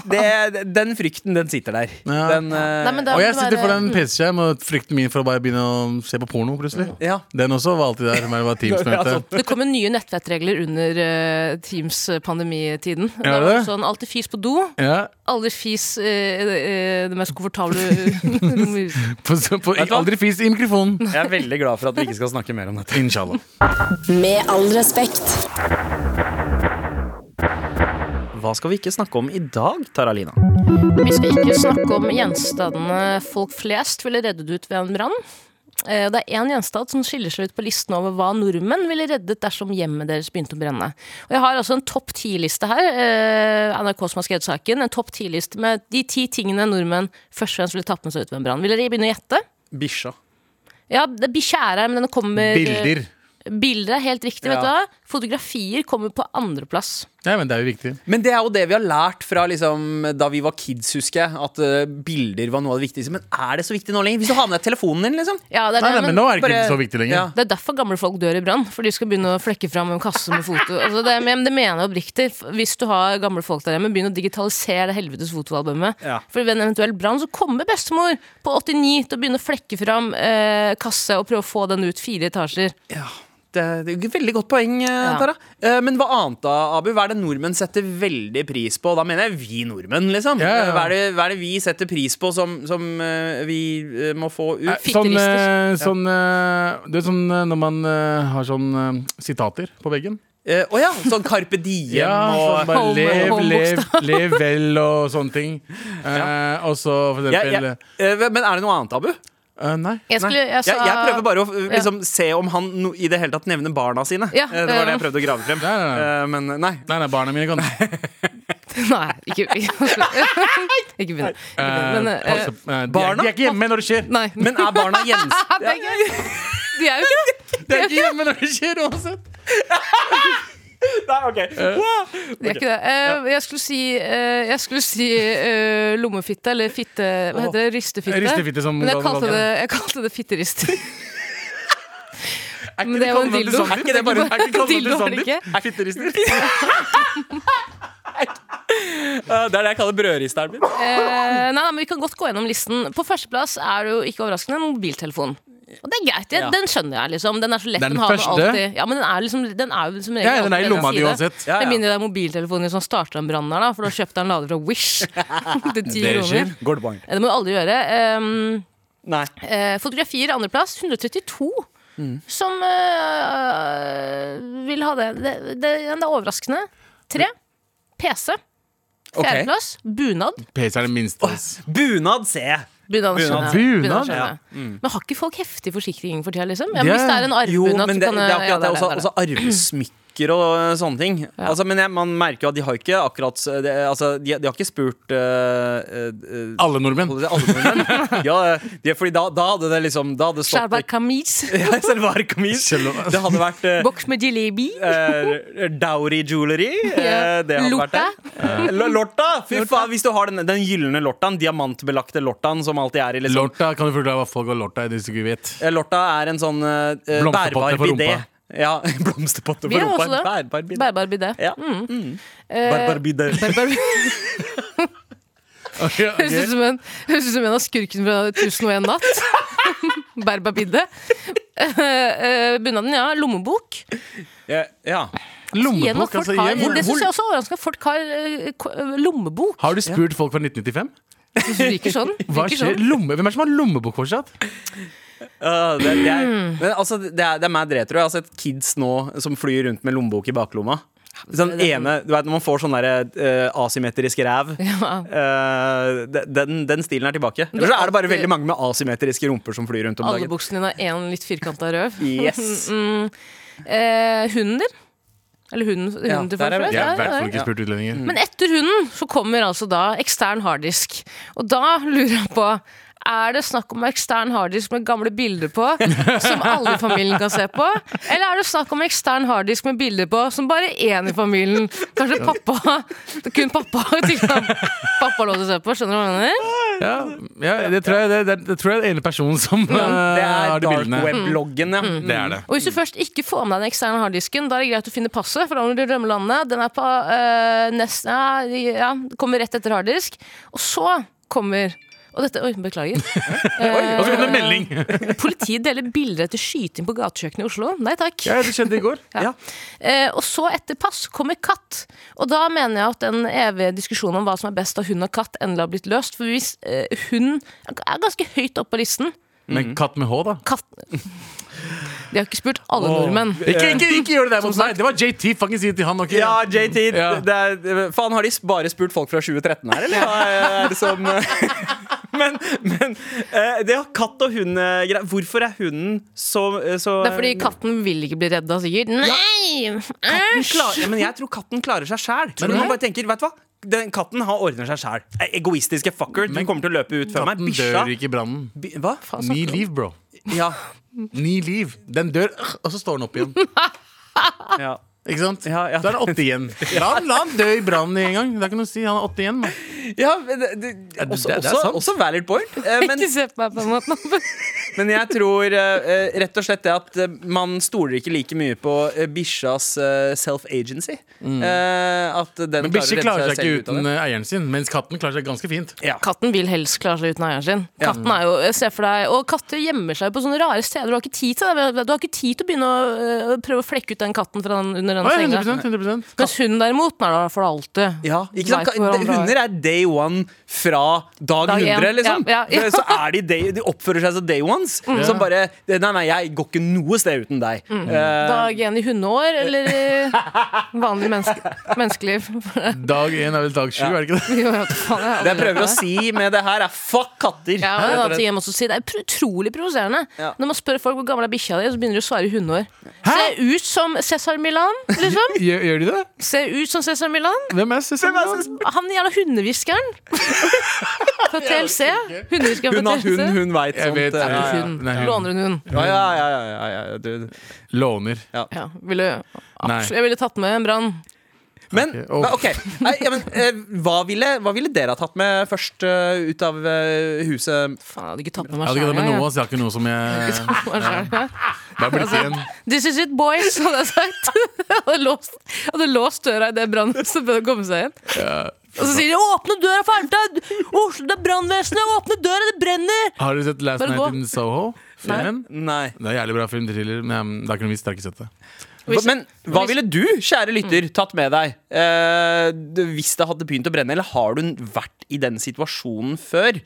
Speaker 3: det, den frykten, den sitter der.
Speaker 2: Ja.
Speaker 3: Den, eh,
Speaker 4: Nei, men da
Speaker 2: Og jeg
Speaker 4: må det
Speaker 2: sitter
Speaker 4: være-
Speaker 2: foran en PC-skjerm, og frykten min for å bare begynne å se på porno plutselig.
Speaker 3: ja.
Speaker 2: Den også var alltid der. Men det
Speaker 3: *laughs*
Speaker 2: var Teams-møte.
Speaker 4: Det kom jo nye nettvettregler under eh, Teams-pandemitiden.
Speaker 2: Ja,
Speaker 4: Da var det
Speaker 2: det?
Speaker 4: Sånn, alltid fis på do,
Speaker 2: Ja,
Speaker 4: aldri fis eh, eh, det mest *laughs* komfortable rommet.
Speaker 2: på, på,
Speaker 3: Vet du hva?
Speaker 2: aldri fis i mikrofonen.
Speaker 3: Jeg er veldig glad for at vi ikke skal snakke mer om dette.
Speaker 2: Inshallah.
Speaker 1: Med all respekt.
Speaker 3: Hva skal vi ikke snakke om i dag, Taralina?
Speaker 4: Vi skal ikke snakke om gjenstandene folk flest ville reddet ut ved en brann. Eh, Det er én gjenstand som skiller seg ut på listen over hva nordmenn ville reddet dersom hjemmet deres begynte å brenne. Og jeg har altså en topp ti-liste her. eh, NRK som har skrevet saken. En topp ti-liste med de ti tingene nordmenn først og fremst ville tatt med seg ut ved en brann. Vil dere begynne å gjette?
Speaker 3: Bikkja.
Speaker 4: Ja, det bikkja er her, men den kommer
Speaker 2: Bilder.
Speaker 4: Bilder er helt riktig, vet du hva?
Speaker 3: Ja.
Speaker 4: Fotografier kommer på andreplass.
Speaker 2: Ja, men det er jo viktig.
Speaker 3: Men det er jo det vi har lært fra liksom, da vi var kids, husker jeg. At eh, bilder var noe av det viktigste. Men er det så viktig nå lenger? Hvis du har med deg telefonen din, liksom.
Speaker 4: Ja, det er,
Speaker 2: Nei,
Speaker 4: det,
Speaker 2: nei, men
Speaker 4: men
Speaker 2: nå er det ikke
Speaker 3: bare-
Speaker 2: så viktig lenger.
Speaker 3: Ja.
Speaker 4: det er derfor gamle folk dør i brann, for de skal begynne å flekke fram en kasse med foto. Altså, det, men det mener jeg oppriktig. Hvis du har gamle folk der hjemme, begynn å digitalisere det helvetes fotoalbumet.
Speaker 3: Ja.
Speaker 4: For ved en eventuell brann så kommer bestemor på 89 til å begynne å flekke fram eh, kasse og prøve å få den ut fire etasjer.
Speaker 3: Ja, det, det er et veldig godt poeng, eh,
Speaker 4: Ja.
Speaker 3: Tara. Eh, Men hva annet da, Abu? Hva er det nordmenn setter veldig pris på? Da mener jeg vi nordmenn, liksom.
Speaker 2: Ja, ja, ja.
Speaker 3: Hva, er det, hva er det vi setter pris på som, som eh, vi eh, må få ut?
Speaker 2: Eh, Sånn, eh, sånn, eh, det er sånn eh, når man eh, har sånn eh, sitater på veggen.
Speaker 3: Eh, Å ja, sånn Carpe Diem
Speaker 2: Ja, sånn
Speaker 3: og
Speaker 2: bare
Speaker 4: Home-
Speaker 2: lev, lev, *laughs*
Speaker 4: homebokstav.
Speaker 2: lev vel og sånne ting. Eh, og så for
Speaker 3: ja,
Speaker 2: eksempel
Speaker 3: ja. Eh, Men er det noe annet, Abu?
Speaker 2: eh, Nei.
Speaker 4: Jeg, skulle,
Speaker 3: Nei.
Speaker 4: jeg, sa,
Speaker 3: jeg, jeg prøver bare å eh, liksom, se om han no, i det hele tatt nevner barna sine.
Speaker 4: Ja,
Speaker 3: Eh, det var det
Speaker 4: eh.
Speaker 3: jeg prøvde å grave frem.
Speaker 2: Nei, nei, nei.
Speaker 3: Eh, Men nei.
Speaker 2: Nei, nei, barna mine kan eh,
Speaker 4: *laughs* Nei, ikke, ikke, ikke begynn. Ikke begynn, men, eh,
Speaker 2: passe- eh, de, er,
Speaker 3: barna?
Speaker 2: de er ikke hjemme når det skjer. *laughs*
Speaker 4: Nei.
Speaker 3: Men er barna
Speaker 4: Ja,
Speaker 3: gjenstand
Speaker 4: det er gøy. De er jo ikke *laughs* det.
Speaker 2: De er ikke hjemme når det skjer uansett.
Speaker 3: Nei, ok.
Speaker 4: De er ikke det. Eh, jeg skulle si, eh, jeg skulle si eh, lommefitte eller fitte Hva heter det? Ristefitte.
Speaker 2: Ristefitte som
Speaker 4: Men jeg
Speaker 2: gammel-
Speaker 4: kalte det, jeg kalte det
Speaker 2: *laughs*
Speaker 4: fitterister.
Speaker 2: Er
Speaker 4: Men det er jo en
Speaker 2: kallenavnet til
Speaker 4: dildo.
Speaker 2: Sandeep? Er ikke det bare- er ikke
Speaker 4: *laughs*
Speaker 2: kallenavnet
Speaker 4: Dildo
Speaker 2: til
Speaker 4: er det
Speaker 2: Sandeep?
Speaker 4: ikke.
Speaker 2: Fitterister.
Speaker 3: Eh, Det er det jeg kaller brødristeren min.
Speaker 4: Eh, nei, nei, men Vi kan godt gå gjennom listen. På førsteplass er det jo ikke overraskende en mobiltelefon. Og det er greit, jeg,
Speaker 3: Ja.
Speaker 4: Den skjønner jeg. liksom Den er så lett
Speaker 2: Den
Speaker 4: den har med
Speaker 2: første?
Speaker 4: alltid. Ja, men den er, liksom, den er jo som regel
Speaker 2: Ja, den er i
Speaker 4: alltid
Speaker 2: lomma di
Speaker 4: side.
Speaker 2: uansett.
Speaker 3: Ja, ja.
Speaker 4: Med mindre det er mobiltelefonen din som starter en brann her, da, for da kjøpte jeg en lader fra
Speaker 2: *laughs*
Speaker 4: Wish til ti
Speaker 2: Det skjer.
Speaker 4: kroner.
Speaker 3: Går det barn?
Speaker 4: Det må du aldri gjøre. Um,
Speaker 3: Nei.
Speaker 4: Eh, fotografier andreplass, 132.
Speaker 3: Mm.
Speaker 4: Som eh, vil ha det. Det, det. det er overraskende. Tre. PC.
Speaker 3: Ok.
Speaker 4: Fjerdeplass. Bunad.
Speaker 2: PC er det minste.
Speaker 3: Bunad ser jeg.
Speaker 4: Bunad,
Speaker 3: Bunad. Mm.
Speaker 4: skjønner jeg.
Speaker 2: Bunad,
Speaker 4: skjønner jeg. Men har ikke folk heftig forsikring for tida, liksom? Ja,
Speaker 2: Det
Speaker 4: men hvis det
Speaker 2: er-
Speaker 4: er en
Speaker 3: Jo,
Speaker 4: arvbunad,
Speaker 3: men
Speaker 4: så
Speaker 3: det,
Speaker 4: kan
Speaker 3: det er
Speaker 4: ja,
Speaker 3: akkurat det. altså,
Speaker 4: er
Speaker 3: Også,
Speaker 4: det,
Speaker 3: også arvesmykker og eh, sånne ting. Altså, men jeg, man merker jo at de har ikke akkurat eh, det, altså, de, de har ikke spurt eh, eh, eh,
Speaker 2: Alle nordmenn.
Speaker 3: alle nordmenn. ja, eh, de, fordi da, da hadde det liksom Da hadde det stått
Speaker 4: Sherbar kamis.
Speaker 3: *laughs* Ja, Selvar kamis.
Speaker 2: Selvar.
Speaker 3: Det hadde vært eh,
Speaker 4: Boks med jalebi.
Speaker 3: eh, dowry jewelry.
Speaker 4: Ja.
Speaker 3: eh, det hadde
Speaker 4: Lorta.
Speaker 3: vært det. Eh, lo- lorta! Fy faen, hvis du har den, den gylne lortaen, diamantbelagte lortaen som alltid er i liksom,
Speaker 2: Lorta, Kan du forklare hva folk og lorta er? Hvis du ikke vet.
Speaker 3: Eh, Lorta er en sånn eh, eh,
Speaker 2: Blomsterpotte
Speaker 3: bærbar
Speaker 2: for
Speaker 3: bidé.
Speaker 2: rumpa.
Speaker 3: Ja, *laughs* blomsterpotte
Speaker 4: Vi
Speaker 3: for
Speaker 4: har
Speaker 3: rumpa.
Speaker 4: også det.
Speaker 3: Bærbar bidé.
Speaker 4: Bærbar bidé.
Speaker 3: Ja.
Speaker 4: Eh,
Speaker 3: Bærbar bidé.
Speaker 4: bærbar-
Speaker 2: *laughs* Okay,
Speaker 4: *laughs* Høres ut som en, høres ut som en av skurkene fra 1001 natt. *laughs* Berbabidde. Uh, bunaden, ja. Lommebok.
Speaker 3: *laughs* Ja, ja.
Speaker 4: Igjen at
Speaker 2: Lommebok,
Speaker 4: folk
Speaker 2: altså.
Speaker 4: har,
Speaker 2: igjen.
Speaker 4: det syns jeg også er overraskende at folk har eh, ko- eh, lommebok.
Speaker 2: Har du spurt folk fra 1995?
Speaker 4: Det virker
Speaker 3: *laughs*
Speaker 4: sånn.
Speaker 2: Hva
Speaker 4: Virker
Speaker 2: skjer?
Speaker 4: sånn.
Speaker 2: Lomme, hvem er det som har lommebok fortsatt?
Speaker 3: Ja, Eh, det,
Speaker 4: Mm.
Speaker 3: det er, men altså, det er, det er meg det, tror jeg. Altså, et kids nå som flyr rundt med lommebok i baklomma. Sånn ene, du vet, Når man får sånn der, eh, asymmetrisk ræv
Speaker 4: Ja.
Speaker 3: eh, de- den, den stilen er tilbake. Eller så er det bare veldig mange med asymmetriske rumper som flyr rundt om
Speaker 4: Alle
Speaker 3: dagen.
Speaker 4: buksene dine har én litt firkanta røv.
Speaker 3: Yes.
Speaker 4: Mm, eh, hunden din. Eller hunden, hunden
Speaker 3: Ja,
Speaker 4: til
Speaker 3: der er
Speaker 4: folk
Speaker 3: vi.
Speaker 4: flest.
Speaker 2: Jeg
Speaker 4: Ja,
Speaker 2: har i
Speaker 4: ja,
Speaker 2: hvert fall
Speaker 4: ja.
Speaker 2: ikke spurt utlendinger.
Speaker 4: Men etter hunden så kommer altså da ekstern harddisk. Og da lurer jeg på er det snakk om ekstern harddisk med gamle bilder på, som alle i familien kan se på? Eller er det snakk om ekstern harddisk med bilder på, som bare én i familien Kanskje pappa Kun pappa *laughs* har tilgang. Pappa har lov til å se på, skjønner du hva jeg mener?
Speaker 2: Ja, ja, det tror jeg det, det, det tror jeg er den ene personen som eh,
Speaker 3: Det er
Speaker 4: Mm.
Speaker 2: har de
Speaker 3: dark
Speaker 2: bildene.
Speaker 3: web-loggen, ja.
Speaker 2: Det er det.
Speaker 4: Og hvis du først ikke får med deg den eksterne harddisken, da er det greit å finne passet, for da må du rømme landet. Den er på øh, nest, ja, ja, kommer rett etter harddisk. Og så kommer og dette, oi, beklager.
Speaker 2: Og så kom det en melding!
Speaker 4: Politiet deler bilder etter skyting på gatekjøkkenet i Oslo. Nei takk.
Speaker 2: Ja, det skjedde i går.
Speaker 3: Ja.
Speaker 4: Eh, og så etter pass kommer katt. Og da mener jeg at den evige diskusjonen om hva som er best av hund og katt, endelig har blitt løst. For hvis eh, hund er ganske høyt oppe på listen
Speaker 2: Men katt med H, da.
Speaker 4: Katt *laughs* De har ikke spurt alle nordmenn.
Speaker 2: Ikke, ikke, ikke gjør det der mot meg! Det var JT. Fuckings si det til han også.
Speaker 3: Ja, JT.
Speaker 2: Ja.
Speaker 3: Det er, faen, har de bare spurt folk fra 2013 her, eller? Hva er det som *laughs* Men, men eh, det har katt og hund eh, grei- Hvorfor er hunden så, eh, så
Speaker 4: Det er fordi katten vil ikke bli redda, sikkert. Nei! Æsj!
Speaker 3: Klar, ja, men jeg tror katten klarer seg sjæl. Man bare tenker, vet du hva? Den katten har ordner seg sjæl. Egoistiske fucker. Den kommer til å løpe ut før meg.
Speaker 2: Den
Speaker 3: Bikkja
Speaker 2: dør ikke i brannen.
Speaker 3: bi, Hva?
Speaker 2: Ni liv, bro.
Speaker 3: Ja,
Speaker 2: Ni liv. Den dør, øh, og så står den opp igjen.
Speaker 3: ja.
Speaker 2: Ikke sant?
Speaker 3: Ja, ja.
Speaker 2: Da er den åtte igjen. La han, la han dø i brannen en gang. Det er ikke noe å si. Han er åtte igjen. Man.
Speaker 3: *laughs* ja men det, det, også,
Speaker 2: det er
Speaker 3: også,
Speaker 2: sant.
Speaker 3: også valid point. Eh, Men, *laughs*
Speaker 4: Ikke se på meg på den måten.
Speaker 3: men jeg tror eh, eh, rett og slett det at eh, man stoler ikke like mye på eh, bikkjas eh, self-agency. Eh, At den
Speaker 2: Men bikkjer klarer seg
Speaker 3: selv
Speaker 2: ikke uten eh, eieren sin, mens katten klarer seg ganske fint.
Speaker 3: Ja.
Speaker 4: Katten vil helst klare seg uten eieren sin. Katten er jo, se for deg, Og katter gjemmer seg på sånne rare steder. Du har ikke tid til det. Du har ikke tid til å begynne å øh, prøve å flekke ut den katten fra den, under den
Speaker 2: Å, ja,
Speaker 4: senga.
Speaker 2: 100%, 100%.
Speaker 4: Mens hunden derimot, nei, da får det alltid.
Speaker 3: Ja, ikke sant?
Speaker 4: Vet hvor han
Speaker 3: Ka- Hunder er day one fra dag
Speaker 4: Dag
Speaker 3: 100,
Speaker 4: én.
Speaker 3: liksom.
Speaker 4: Ja, ja, Mm. ja.
Speaker 3: Så er de, day, de oppfører seg som day ones. Som bare Nei, nei, jeg går ikke noe sted uten deg.
Speaker 4: Mm.
Speaker 3: Eh,
Speaker 4: Dag én i hundeår eller øh, vanlig menneske, menneskeliv. *laughs*
Speaker 2: Dag én er vel dag sju, er det ikke det?
Speaker 4: Jo, jeg vet faen, jeg har
Speaker 3: det
Speaker 4: aldri
Speaker 3: jeg prøver å
Speaker 4: hørt det.
Speaker 3: si med det her, er fuck katter.
Speaker 4: ja, og en
Speaker 3: Rett og
Speaker 4: annen ting
Speaker 3: slett.
Speaker 4: jeg må også si, Det er pro- utrolig provoserende.
Speaker 3: Ja.
Speaker 4: Når man spør folk hvor gammel er bikkja di, så begynner de å svare i hundeår. Ser ut som Cæsar Milan,
Speaker 3: *laughs*
Speaker 4: liksom.
Speaker 2: Gjør, gjør de det?
Speaker 4: Ser ut som Cæsar Milan.
Speaker 2: Hvem er søsteren?
Speaker 4: Han jævla
Speaker 2: *laughs*
Speaker 4: hundehviskeren fra TLC. Hundehviskeren
Speaker 3: hun
Speaker 4: fra
Speaker 3: har hund,
Speaker 4: TLC.
Speaker 3: hun veit
Speaker 2: Jeg
Speaker 3: sånt.
Speaker 2: vet,
Speaker 3: eh,
Speaker 2: jeg vet.
Speaker 3: ja,
Speaker 4: Hun.
Speaker 2: Nei, hun.
Speaker 4: Låner hun hund?
Speaker 3: ja, ja, ja, ja, ja, ja, ja, du-
Speaker 2: Låner.
Speaker 4: Ja, ville,
Speaker 2: Nei.
Speaker 4: absolutt, jeg ville tatt med en brann.
Speaker 3: Men
Speaker 2: Ok, oh. og-
Speaker 3: men OK. Nei, ja, men, eh, hva, ville, hva ville dere ha tatt med først eh, ut av eh, huset?
Speaker 4: Faen, jeg hadde ikke tatt med
Speaker 2: Jeg
Speaker 4: meg
Speaker 2: hadde ikke det med
Speaker 4: selv,
Speaker 2: noe, så jeg har ikke noe som jeg
Speaker 4: jeg. Tatt med meg selv, ja.
Speaker 2: Det er blitt igjen.
Speaker 4: *laughs* This is it, boys, hadde jeg sagt. *laughs* Jeg hadde låst, jeg hadde låst døra idet brannvesenet begynte å komme seg igjen. Og så sier de 'åpne døra, Farmstad'! Oslo, det er brannvesenet! Åpne døra, det brenner!
Speaker 2: Har dere sett Last
Speaker 4: Bare gå.
Speaker 2: Night in Soho? Filmen?
Speaker 3: Nei.
Speaker 2: Det er en jævlig bra film, thriller, men mm, det er ikke noe vits. Jeg har ikke sett det.
Speaker 4: Hvis-
Speaker 3: Men hva
Speaker 4: hvis- Mm.
Speaker 3: ville du, kjære lytter, tatt med deg eh, d- hvis det hadde begynt å brenne? Eller har du vært i den situasjonen før?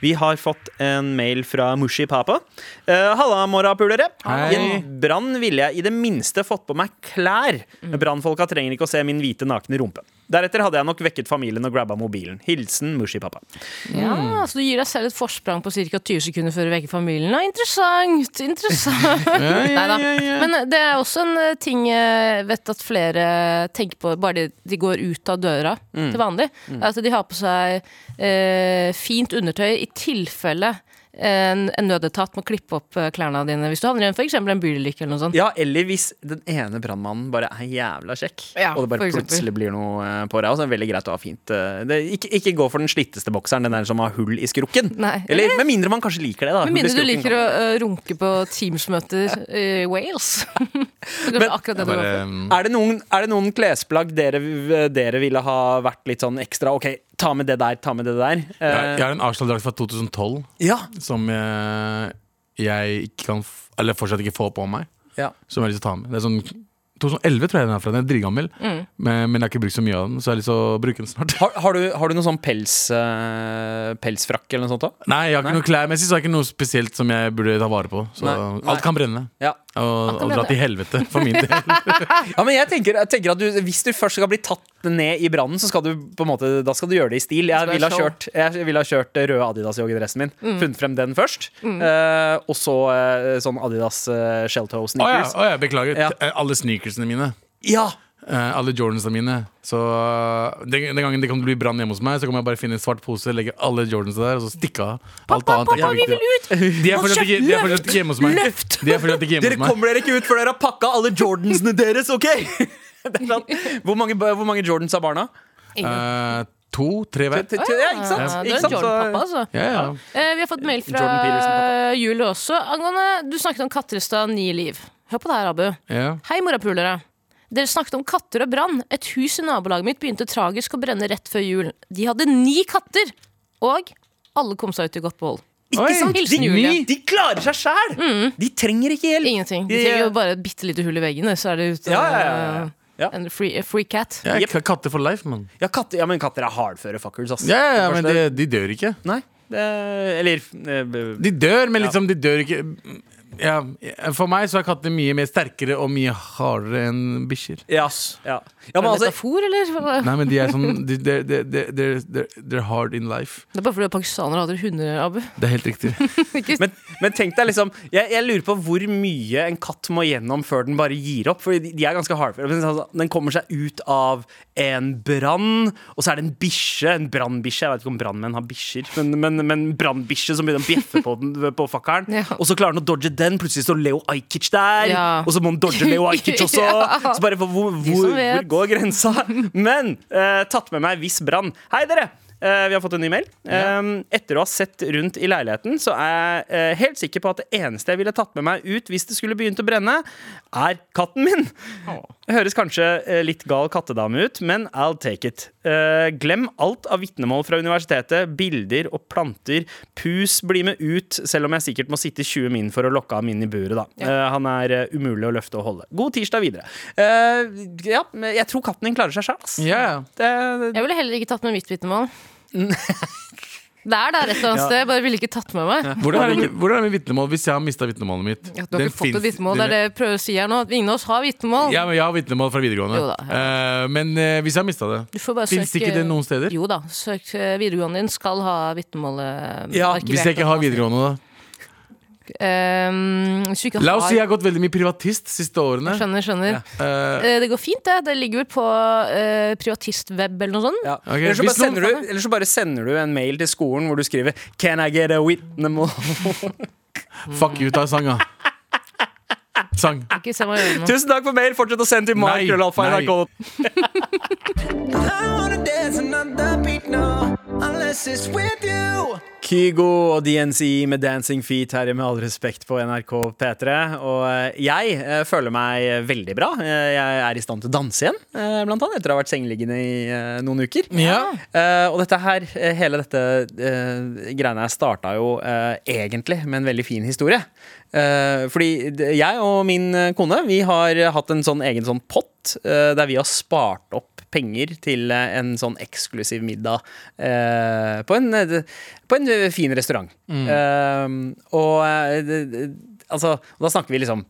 Speaker 3: Vi har fått en mail fra Mushi Papa. Eh, Halla, morapulere.
Speaker 2: Hei.
Speaker 3: I en brann ville jeg i det minste fått på meg klær.
Speaker 4: Mm.
Speaker 3: Brannfolka trenger ikke å se min hvite nakne rumpe. Deretter hadde jeg nok vekket familien og grabba mobilen. Hilsen Mushi Papa.
Speaker 2: Mm.
Speaker 4: Ja, så du gir deg selv et forsprang på ca. 20 sekunder før du vekker familien. Ja, interessant!
Speaker 2: *laughs*
Speaker 4: Interessant! Neida. Men det er også en eh, ting jeg vet at flere eh, tenker på bare de, de går ut av døra
Speaker 2: Mm.
Speaker 4: til vanlig. er At de har på seg eh, fint undertøy i tilfelle en, en nødetat må klippe opp eh, klærne dine hvis du havner i en, for eksempel en bilulykke eller noe sånt.
Speaker 3: Ja, eller hvis den ene brannmannen bare er jævla kjekk,
Speaker 4: Ja,
Speaker 3: og det bare
Speaker 4: for eksempel.
Speaker 3: plutselig blir noe eh, på deg. Og så er det veldig greit å ha fint eh, det, ikke, ikke gå for den slitteste bokseren, den der som har hull i skrukken.
Speaker 4: Nei.
Speaker 3: Eller med mindre man kanskje liker det, da.
Speaker 4: Med mindre du
Speaker 3: Hull i skrukken
Speaker 4: liker å eh, runke på Teams-møter i
Speaker 2: *laughs*
Speaker 4: Wales. *laughs* Så kanskje akkurat det du går
Speaker 2: Bare,
Speaker 4: for.
Speaker 2: um,
Speaker 3: kan- Er det noen, er det noen klesplagg dere, dere ville ha vært litt sånn ekstra OK, ta med det der, ta med det der?
Speaker 2: jeg,
Speaker 3: Eh,
Speaker 2: jeg har en Arsenal-drakt fra 2012
Speaker 3: ja.
Speaker 2: som jeg, jeg ikke kan f Eller fortsatt ikke får på meg.
Speaker 3: ja.
Speaker 2: Som jeg har lyst til å ta med. Det er sånn 2011 tror jeg den er fra. Den er dritgammel. Men, men jeg har ikke brukt så mye av den, så jeg har lyst til å bruke den snart. *laughs*
Speaker 3: Har, har, du, har du noen sånn pels, eh, pelsfrakk eller noe sånt? da?
Speaker 2: Nei, jeg har ikke noe klærmessig, så jeg har ikke noe spesielt som jeg burde ta vare på. Så
Speaker 3: Nei, nei.
Speaker 2: alt kan brenne.
Speaker 3: Ja.
Speaker 2: Og, og dra
Speaker 4: brenne.
Speaker 2: til helvete, for min del.
Speaker 3: ja, men jeg tenker, jeg tenker at du, Hvis du først skal bli tatt ned i brannen, så skal du på en måte, da skal du gjøre det i stil. Jeg
Speaker 4: Det skal
Speaker 3: ville ha
Speaker 4: være Mm.
Speaker 3: kjørt, jeg ville ha kjørt røde Adidas-joggedressen min. Funnet frem den først. eh, og så eh, sånn Adidas uh, Shelltoe
Speaker 2: Å ja,
Speaker 3: sneakers.
Speaker 2: å ja, beklager.
Speaker 3: Ja.
Speaker 2: T- eh, Alle sneakersene mine.
Speaker 3: ja.
Speaker 2: Eh, alle Jordansene mine. Så eh, den, den gangen det kan bli brann hjemme hos meg, Så kan jeg bare finne en svart pose, legge alle Jordansene der og så stikke av. Alt
Speaker 4: Pappa,
Speaker 2: annet er
Speaker 4: pappa, vi
Speaker 2: ikke
Speaker 4: vil
Speaker 2: viktig.
Speaker 4: ut!
Speaker 2: De er fortsatt ikke, de er fortsatt ikke hjemme hos meg.
Speaker 3: Løft!
Speaker 2: De er fortsatt ikke hjemme
Speaker 3: Dere
Speaker 2: hos meg.
Speaker 3: kommer dere ikke ut før dere har pakka alle Jordansene
Speaker 4: *laughs*
Speaker 3: deres, OK? Det er sant. hvor, mange, hvor mange Jordans har barna?
Speaker 2: Eh, to, tre
Speaker 3: Ja,
Speaker 2: hver.
Speaker 3: ikke sant?
Speaker 4: Ja, du
Speaker 3: Ikke
Speaker 4: er
Speaker 3: sant?
Speaker 4: Jordan,
Speaker 3: Så-
Speaker 4: pappa, altså.
Speaker 2: Ja, ja.
Speaker 4: Eh, vi har fått mail fra
Speaker 3: Jordan Peterson, pappa.
Speaker 4: Julie også. Angående, du snakket om Katrestad Nye Liv. Hør på det her, Abu.
Speaker 2: ja.
Speaker 4: Hei, morapulere. Dere snakket om katter og brann. Et hus i nabolaget mitt begynte tragisk å brenne rett før jul. De hadde ni katter, og alle kom seg ut i godt behold.
Speaker 3: Ikke sant?
Speaker 4: Hilsen Mm.
Speaker 3: De,
Speaker 4: Julie.
Speaker 3: de klarer seg sjæl! De trenger ikke hjelp.
Speaker 4: Ingenting. De trenger jo bare et bitte lite hull i veggene, så er det ute
Speaker 3: Ja, ja, ja, ja.
Speaker 4: eh,
Speaker 3: Ja.
Speaker 4: en free, a free cat.
Speaker 2: Jeg er katter for life, mann.
Speaker 3: Ja, katter, ja, men katter er hardføre fuckers, ass.
Speaker 2: Ja, ja, ja, men
Speaker 3: Kanskje
Speaker 2: de, de dør ikke.
Speaker 3: Nei. Det, eller eh, b-
Speaker 2: De dør, men liksom, de dør ikke ja, For meg så er katter mye mer sterkere og mye hardere enn bikkjer.
Speaker 3: ja, ass, ja. ja, men altså
Speaker 4: Metafor, eller?
Speaker 2: Nei, men de er sånn de, de, de, de, they're, they're, they're hard in life.
Speaker 4: Det er bare fordi du er pakistaner og hadde hunder, Abu. *laughs*
Speaker 2: Det er helt riktig.
Speaker 4: Ikke-
Speaker 3: men, men tenk deg liksom jeg, jeg lurer på hvor mye en katt må gjennom før den bare gir opp. For de, de er ganske hardføre. Men altså, Den kommer seg ut av en brann, og så er det en bikkje. En brannbikkje. Jeg vet ikke om brannmenn har bikkjer, men, men, men brannbikkje som begynner å bjeffe på, den, på fakkelen.
Speaker 4: Ja.
Speaker 3: Og så klarer den å dodge den. Plutselig står Leo Ajkic der.
Speaker 4: Ja.
Speaker 3: Og så må den dodge Leo Ajkic også.
Speaker 4: *laughs* Ja.
Speaker 3: Så Altså, bare hvor, hvor,
Speaker 4: De som vet.
Speaker 3: hvor
Speaker 4: *laughs*
Speaker 3: går grensa? Men eh, tatt med meg hvis brann. Hei, dere! Eh, vi har fått en ny mail. Eh, etter å ha sett rundt i leiligheten, så er jeg eh, helt sikker på at det eneste jeg ville tatt med meg ut hvis det skulle begynt å brenne, er katten min. Høres kanskje eh, litt gal kattedame ut, men I'll take it. Eh, glem alt av vitnemål fra universitetet, bilder og planter. Pus blir med ut, selv om jeg sikkert må sitte 20 min for å lokke ham inn i buret, da. Eh, han er eh, umulig å løfte og holde. God tirsdag videre. Eh, ja, men jeg tror katten din klarer seg sjøl, ass.
Speaker 2: Ja,
Speaker 3: Det,
Speaker 4: Jeg ville heller ikke tatt med mitt vitnemål. Det er der et eller annet
Speaker 3: Ja.
Speaker 4: sted. Jeg bare ville ikke tatt med meg.
Speaker 2: Hvordan er, det, med- hvordan er det med vitnemål hvis jeg har mista vitnemålet mitt?
Speaker 4: Ja, Du har
Speaker 2: Den
Speaker 4: ikke fått
Speaker 2: finnes-
Speaker 4: et vitnemål. Det er det jeg prøver å si her nå. At ingen av oss har vitnemål.
Speaker 2: ja, men Jeg har vitnemål fra videregående.
Speaker 4: Jo da,
Speaker 2: Eh, men eh, hvis jeg har mista det
Speaker 4: Du får bare
Speaker 2: Fins
Speaker 4: søke-
Speaker 2: ikke det noen steder?
Speaker 4: Jo da. Søk eh, videregående din skal ha vitnemålet
Speaker 3: Ja,
Speaker 4: arkivert.
Speaker 2: Hvis jeg ikke har videregående, da?
Speaker 4: Ehm, hvis du ikke
Speaker 2: La oss si jeg
Speaker 4: har
Speaker 2: har gått veldig mye privatist siste årene.
Speaker 4: Skjønner, skjønner.
Speaker 2: Eh,
Speaker 4: Eh, Det går fint, det. Det ligger vel på eh, privatistweb eller noe sånt.
Speaker 3: ja.
Speaker 2: Ok,
Speaker 3: eller, så bare
Speaker 2: hvis noen-
Speaker 3: sender du, eller så bare sender du en mail til skolen hvor du skriver 'Can I get a witnemål?' *laughs*
Speaker 2: fuck you, ta sang, da. Sang.
Speaker 4: Ikke se meg i øynene.
Speaker 3: Tusen takk for mail! Fortsett å sende til
Speaker 2: Nei,
Speaker 3: markrøllalfa.nrk.no.
Speaker 5: I wanna dance another beat now, unless it's with you.
Speaker 3: Kygo og DNC med 'Dancing Feet' her i med all respekt på NRK P3. Og eh, jeg eh, føler meg veldig bra. Eh, Jeg er i stand til å danse igjen, eh, blant annet, etter å ha vært sengeliggende i eh, noen uker.
Speaker 2: Ja.
Speaker 3: Eh, og dette her, eh, hele dette eh, greiene her starta jo eh, egentlig med en veldig fin historie. Eh, fordi d- jeg og min eh, kone Vi har eh, hatt en sånn egen sånn pott eh, der vi har spart opp penger til eh, en sånn eksklusiv middag eh, på, en, eh, d- på en eh, fin restaurant.
Speaker 2: Mm.
Speaker 3: Eh, og eh, d- d- altså, da snakker vi liksom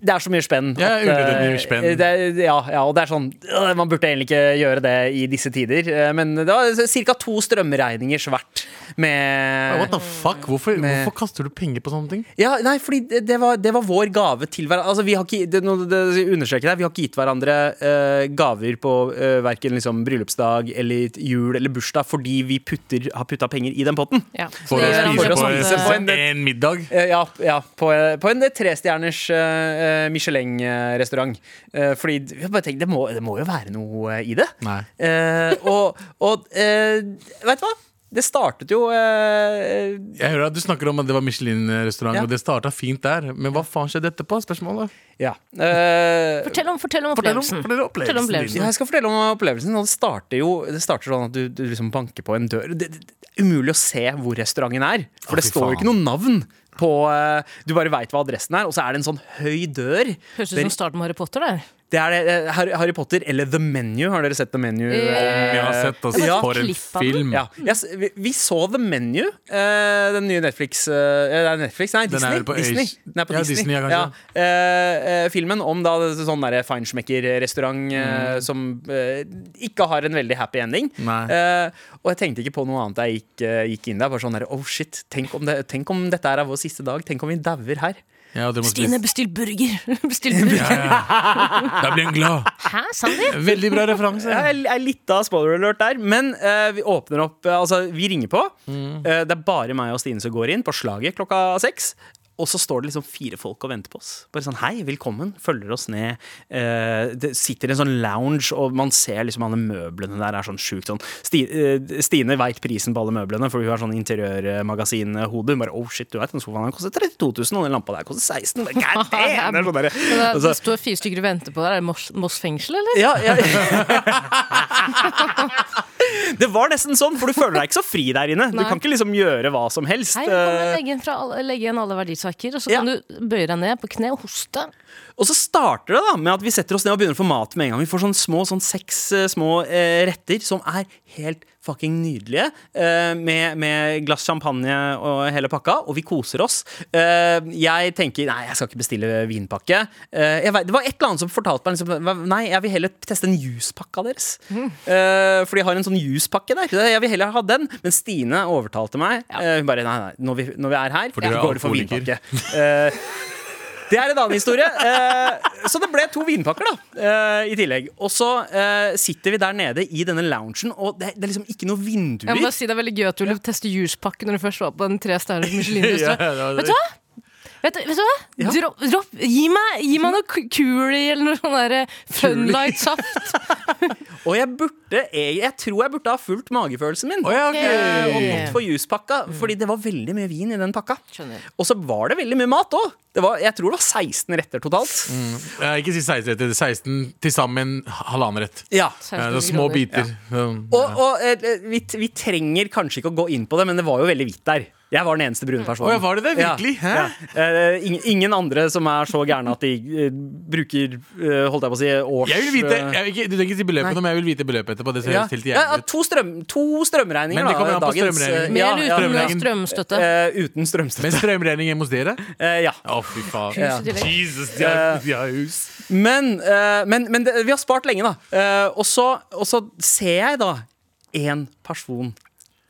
Speaker 3: det er så mye spenn.
Speaker 2: Ja,
Speaker 3: at,
Speaker 2: unødvendig
Speaker 3: eh,
Speaker 2: spenn.
Speaker 3: Det, er- ja, ja, og det er sånn øh, Man burde egentlig ikke gjøre det i disse tider, eh, men det var ca. to strømregningers verdt med
Speaker 2: What the fuck? Hvorfor, hvorfor kaster du penger på sånne ting?
Speaker 3: ja, nei, fordi det- det var, det var vår gave til hverandre. Altså, vi har ikke, det, nå- det, jeg understreker det, vi har ikke gitt hverandre eh, gaver på uh, verken liksom, bryllupsdag eller jul eller bursdag fordi vi putter, har putta penger i den potten.
Speaker 4: Ja.
Speaker 2: For
Speaker 4: Det
Speaker 2: å
Speaker 4: gjør han
Speaker 2: spise
Speaker 4: på
Speaker 2: på
Speaker 4: en
Speaker 3: spise på
Speaker 4: måte.
Speaker 2: en, en middag?
Speaker 3: Eh, Ja, ja på, eh, på en trestjerners eh, eh, Michelin-restaurant. Eh, Fordi d- jeg bare tenkte, det må, det må jo være noe eh, i det.
Speaker 2: Nei.
Speaker 3: Eh, og og eh, vet du hva? Det startet jo eh,
Speaker 2: Jeg hører at Du snakker om at det var Michelin-restaurant,
Speaker 3: Ja.
Speaker 2: og det starta fint der. Men hva faen skjedde etterpå? Spørsmålet.
Speaker 3: Ja. Eh,
Speaker 4: Fortell om, fortell om
Speaker 2: Fortell
Speaker 4: opplevelsen.
Speaker 2: om, fortell om
Speaker 4: Fortell om
Speaker 2: opplevelsen
Speaker 4: opplevelsen.
Speaker 2: din.
Speaker 3: Ja, jeg skal fortelle om opplevelsen. Og det starter jo det starter sånn at du, du liksom banker på en dør. Det, det, det er umulig å se hvor restauranten er, for
Speaker 2: Å,
Speaker 3: det
Speaker 2: fy
Speaker 3: står jo
Speaker 2: faen.
Speaker 3: ikke noe navn på eh, Du bare veit hva adressen er, og så er det en sånn høy dør.
Speaker 4: Høres ut som starten på Harry Potter der.
Speaker 3: Det er det, eh, Harry Harry Potter eller The Menu. Har dere sett The Menu?
Speaker 4: Eh,
Speaker 2: Vi har sett altså,
Speaker 4: Ja.
Speaker 2: for en
Speaker 4: Klipp av den.
Speaker 2: film.
Speaker 3: Ja, jeg s- vi, vi så The Menu, eh, den nye Netflix eh, eh, det er Netflix, nei, Disney.
Speaker 2: vel på
Speaker 3: Disney.
Speaker 2: H-
Speaker 3: Den er på
Speaker 2: Ja,
Speaker 3: Disney.
Speaker 2: Disney, ja, kanskje.
Speaker 3: Ja, eh, eh, filmen om da det- sånn derre feinschmecker-restaurant eh, som eh, ikke har en veldig happy ending.
Speaker 2: Mm. Nei.
Speaker 3: Eh, og jeg tenkte ikke på noe annet da jeg gikk, eh, gikk inn der. Bare sånn der, oh shit, tenk om, det, tenk om dette er vår siste dag. Tenk om vi dauer her.
Speaker 2: Ja, og dere må
Speaker 4: Stine,
Speaker 2: spise.
Speaker 4: bestill burger! *laughs* Bestill burger.
Speaker 2: Ja, ja. Da blir hun glad.
Speaker 4: Hæ,
Speaker 3: *laughs*
Speaker 4: Sandeep?
Speaker 2: Veldig bra
Speaker 4: *laughs*
Speaker 2: referanse.
Speaker 3: Ja, jeg er litt av spoiler alert der, men eh, vi åpner opp eh, Altså, vi ringer på. Eh, det er bare meg og Stine som går inn på slaget klokka seks. Og så står det liksom fire folk og venter på oss. Bare sånn, hei, velkommen, følger oss ned. Eh, det sitter i en sånn lounge, og man ser liksom alle møblene der er sånn sjukt sånn. Sti, eh, Stine veit prisen på alle møblene, for hun har sånn interiørmagasinhode. Hun bare, oh shit, du veit, den sofaen her koster 32 000, og den lampa der koster 16 *laughs* 000. God damn! Det er sånn derre-
Speaker 4: Det,
Speaker 3: Og
Speaker 4: det
Speaker 3: så-
Speaker 4: står fire stykker og venter på deg. Er det Moss, Moss fengsel, eller?
Speaker 3: ja, ja. Det var nesten sånn, for du føler deg ikke så fri der inne. Du
Speaker 4: Nei.
Speaker 3: kan ikke liksom gjøre hva som helst. eh,
Speaker 4: Hei, kan du legge igjen, fra alle, legge igjen alle verdisaker, og så
Speaker 3: Ja.
Speaker 4: kan du bøye deg ned på kne og hoste.
Speaker 3: Og så starter det da med at vi setter oss ned og begynner å få mat med en gang. Vi får sånn små, sånn seks eh, små eh, retter som er helt fucking nydelige. eh, med, med glass champagne og hele pakka, og vi koser oss. Eh, jeg tenker nei, jeg skal ikke bestille vinpakke. Eh, jeg vet, det var et eller annet som fortalte meg liksom, nei, jeg vil heller teste en juicepakka deres. Eh, for de har en sånn juicepakke der. Så Jeg vil heller ha den. Men Stine overtalte meg. Eh, hun bare nei, nei, når vi, når vi er her,
Speaker 2: For du er
Speaker 3: går du for
Speaker 2: alkoholiker.
Speaker 3: vinpakke. Eh, det er en annen historie. Eh, så det ble to vinpakker da, eh, i tillegg. Og så eh, sitter vi der nede i denne loungen, og det, det er liksom ikke noen vinduer.
Speaker 4: Jeg må bare si Det er veldig gøy at du ville teste juicepakke når du først var på den tre
Speaker 3: *laughs*
Speaker 4: stjerner
Speaker 2: Ja,
Speaker 4: Michelin-restaurant.
Speaker 2: det var-
Speaker 4: Vet du hva? Vet, du- vet du hva? Dropp, dropp, gi, meg, gi meg noe Cu- Cooley eller noe sånn der
Speaker 3: *laughs*
Speaker 4: Funlight-saft.
Speaker 3: Og jeg burde, jeg, jeg tror jeg burde ha fulgt magefølelsen min.
Speaker 2: Å, ja, ok.
Speaker 3: Eh, Og gått for juicepakka, fordi det var veldig mye vin i den pakka.
Speaker 4: Skjønner.
Speaker 3: Og så var det veldig mye mat òg. Jeg tror det var 16 retter totalt.
Speaker 2: Eh, Ikke si 16 retter. 16 til sammen halvannen rett.
Speaker 3: Ja
Speaker 2: Ja, det er små biter. Sånn,
Speaker 3: Og, og eh, vi, vi trenger kanskje ikke å gå inn på det, men det var jo veldig hvitt der. Jeg var den eneste brune personen.
Speaker 2: Å, ja, var det det? Virkelig?
Speaker 3: Ja,
Speaker 2: Hæ?
Speaker 3: ja. Eh, ingen, ingen andre som er så gærne at de eh, bruker eh, Holdt jeg på å si års...
Speaker 2: Jeg vil vite,
Speaker 3: eh,
Speaker 2: jeg vil ikke, Du trenger ikke si beløpet, nå, men jeg vil vite beløpet etterpå. Det ser
Speaker 3: ja.
Speaker 2: helt helt
Speaker 3: Ja, ja,
Speaker 2: jævlig ut.
Speaker 3: to, strøm, to strømregninger,
Speaker 2: Men det kommer
Speaker 3: da.
Speaker 2: an på
Speaker 3: dagens,
Speaker 2: strømregningen.
Speaker 3: eh,
Speaker 4: Med
Speaker 3: ja, ja,
Speaker 4: eller
Speaker 2: strømregning.
Speaker 4: uten strømstøtte.
Speaker 3: eh, uten
Speaker 2: Men
Speaker 3: strømstøtte.
Speaker 2: strømregning hjemme hos dere?
Speaker 3: Eh, ja.
Speaker 2: Å, fy faen.
Speaker 4: Ja.
Speaker 2: Jesus, de har, de har hus.
Speaker 3: Men, eh, men, men det, vi har spart lenge, da. Eh, og, så, og så ser jeg da én person.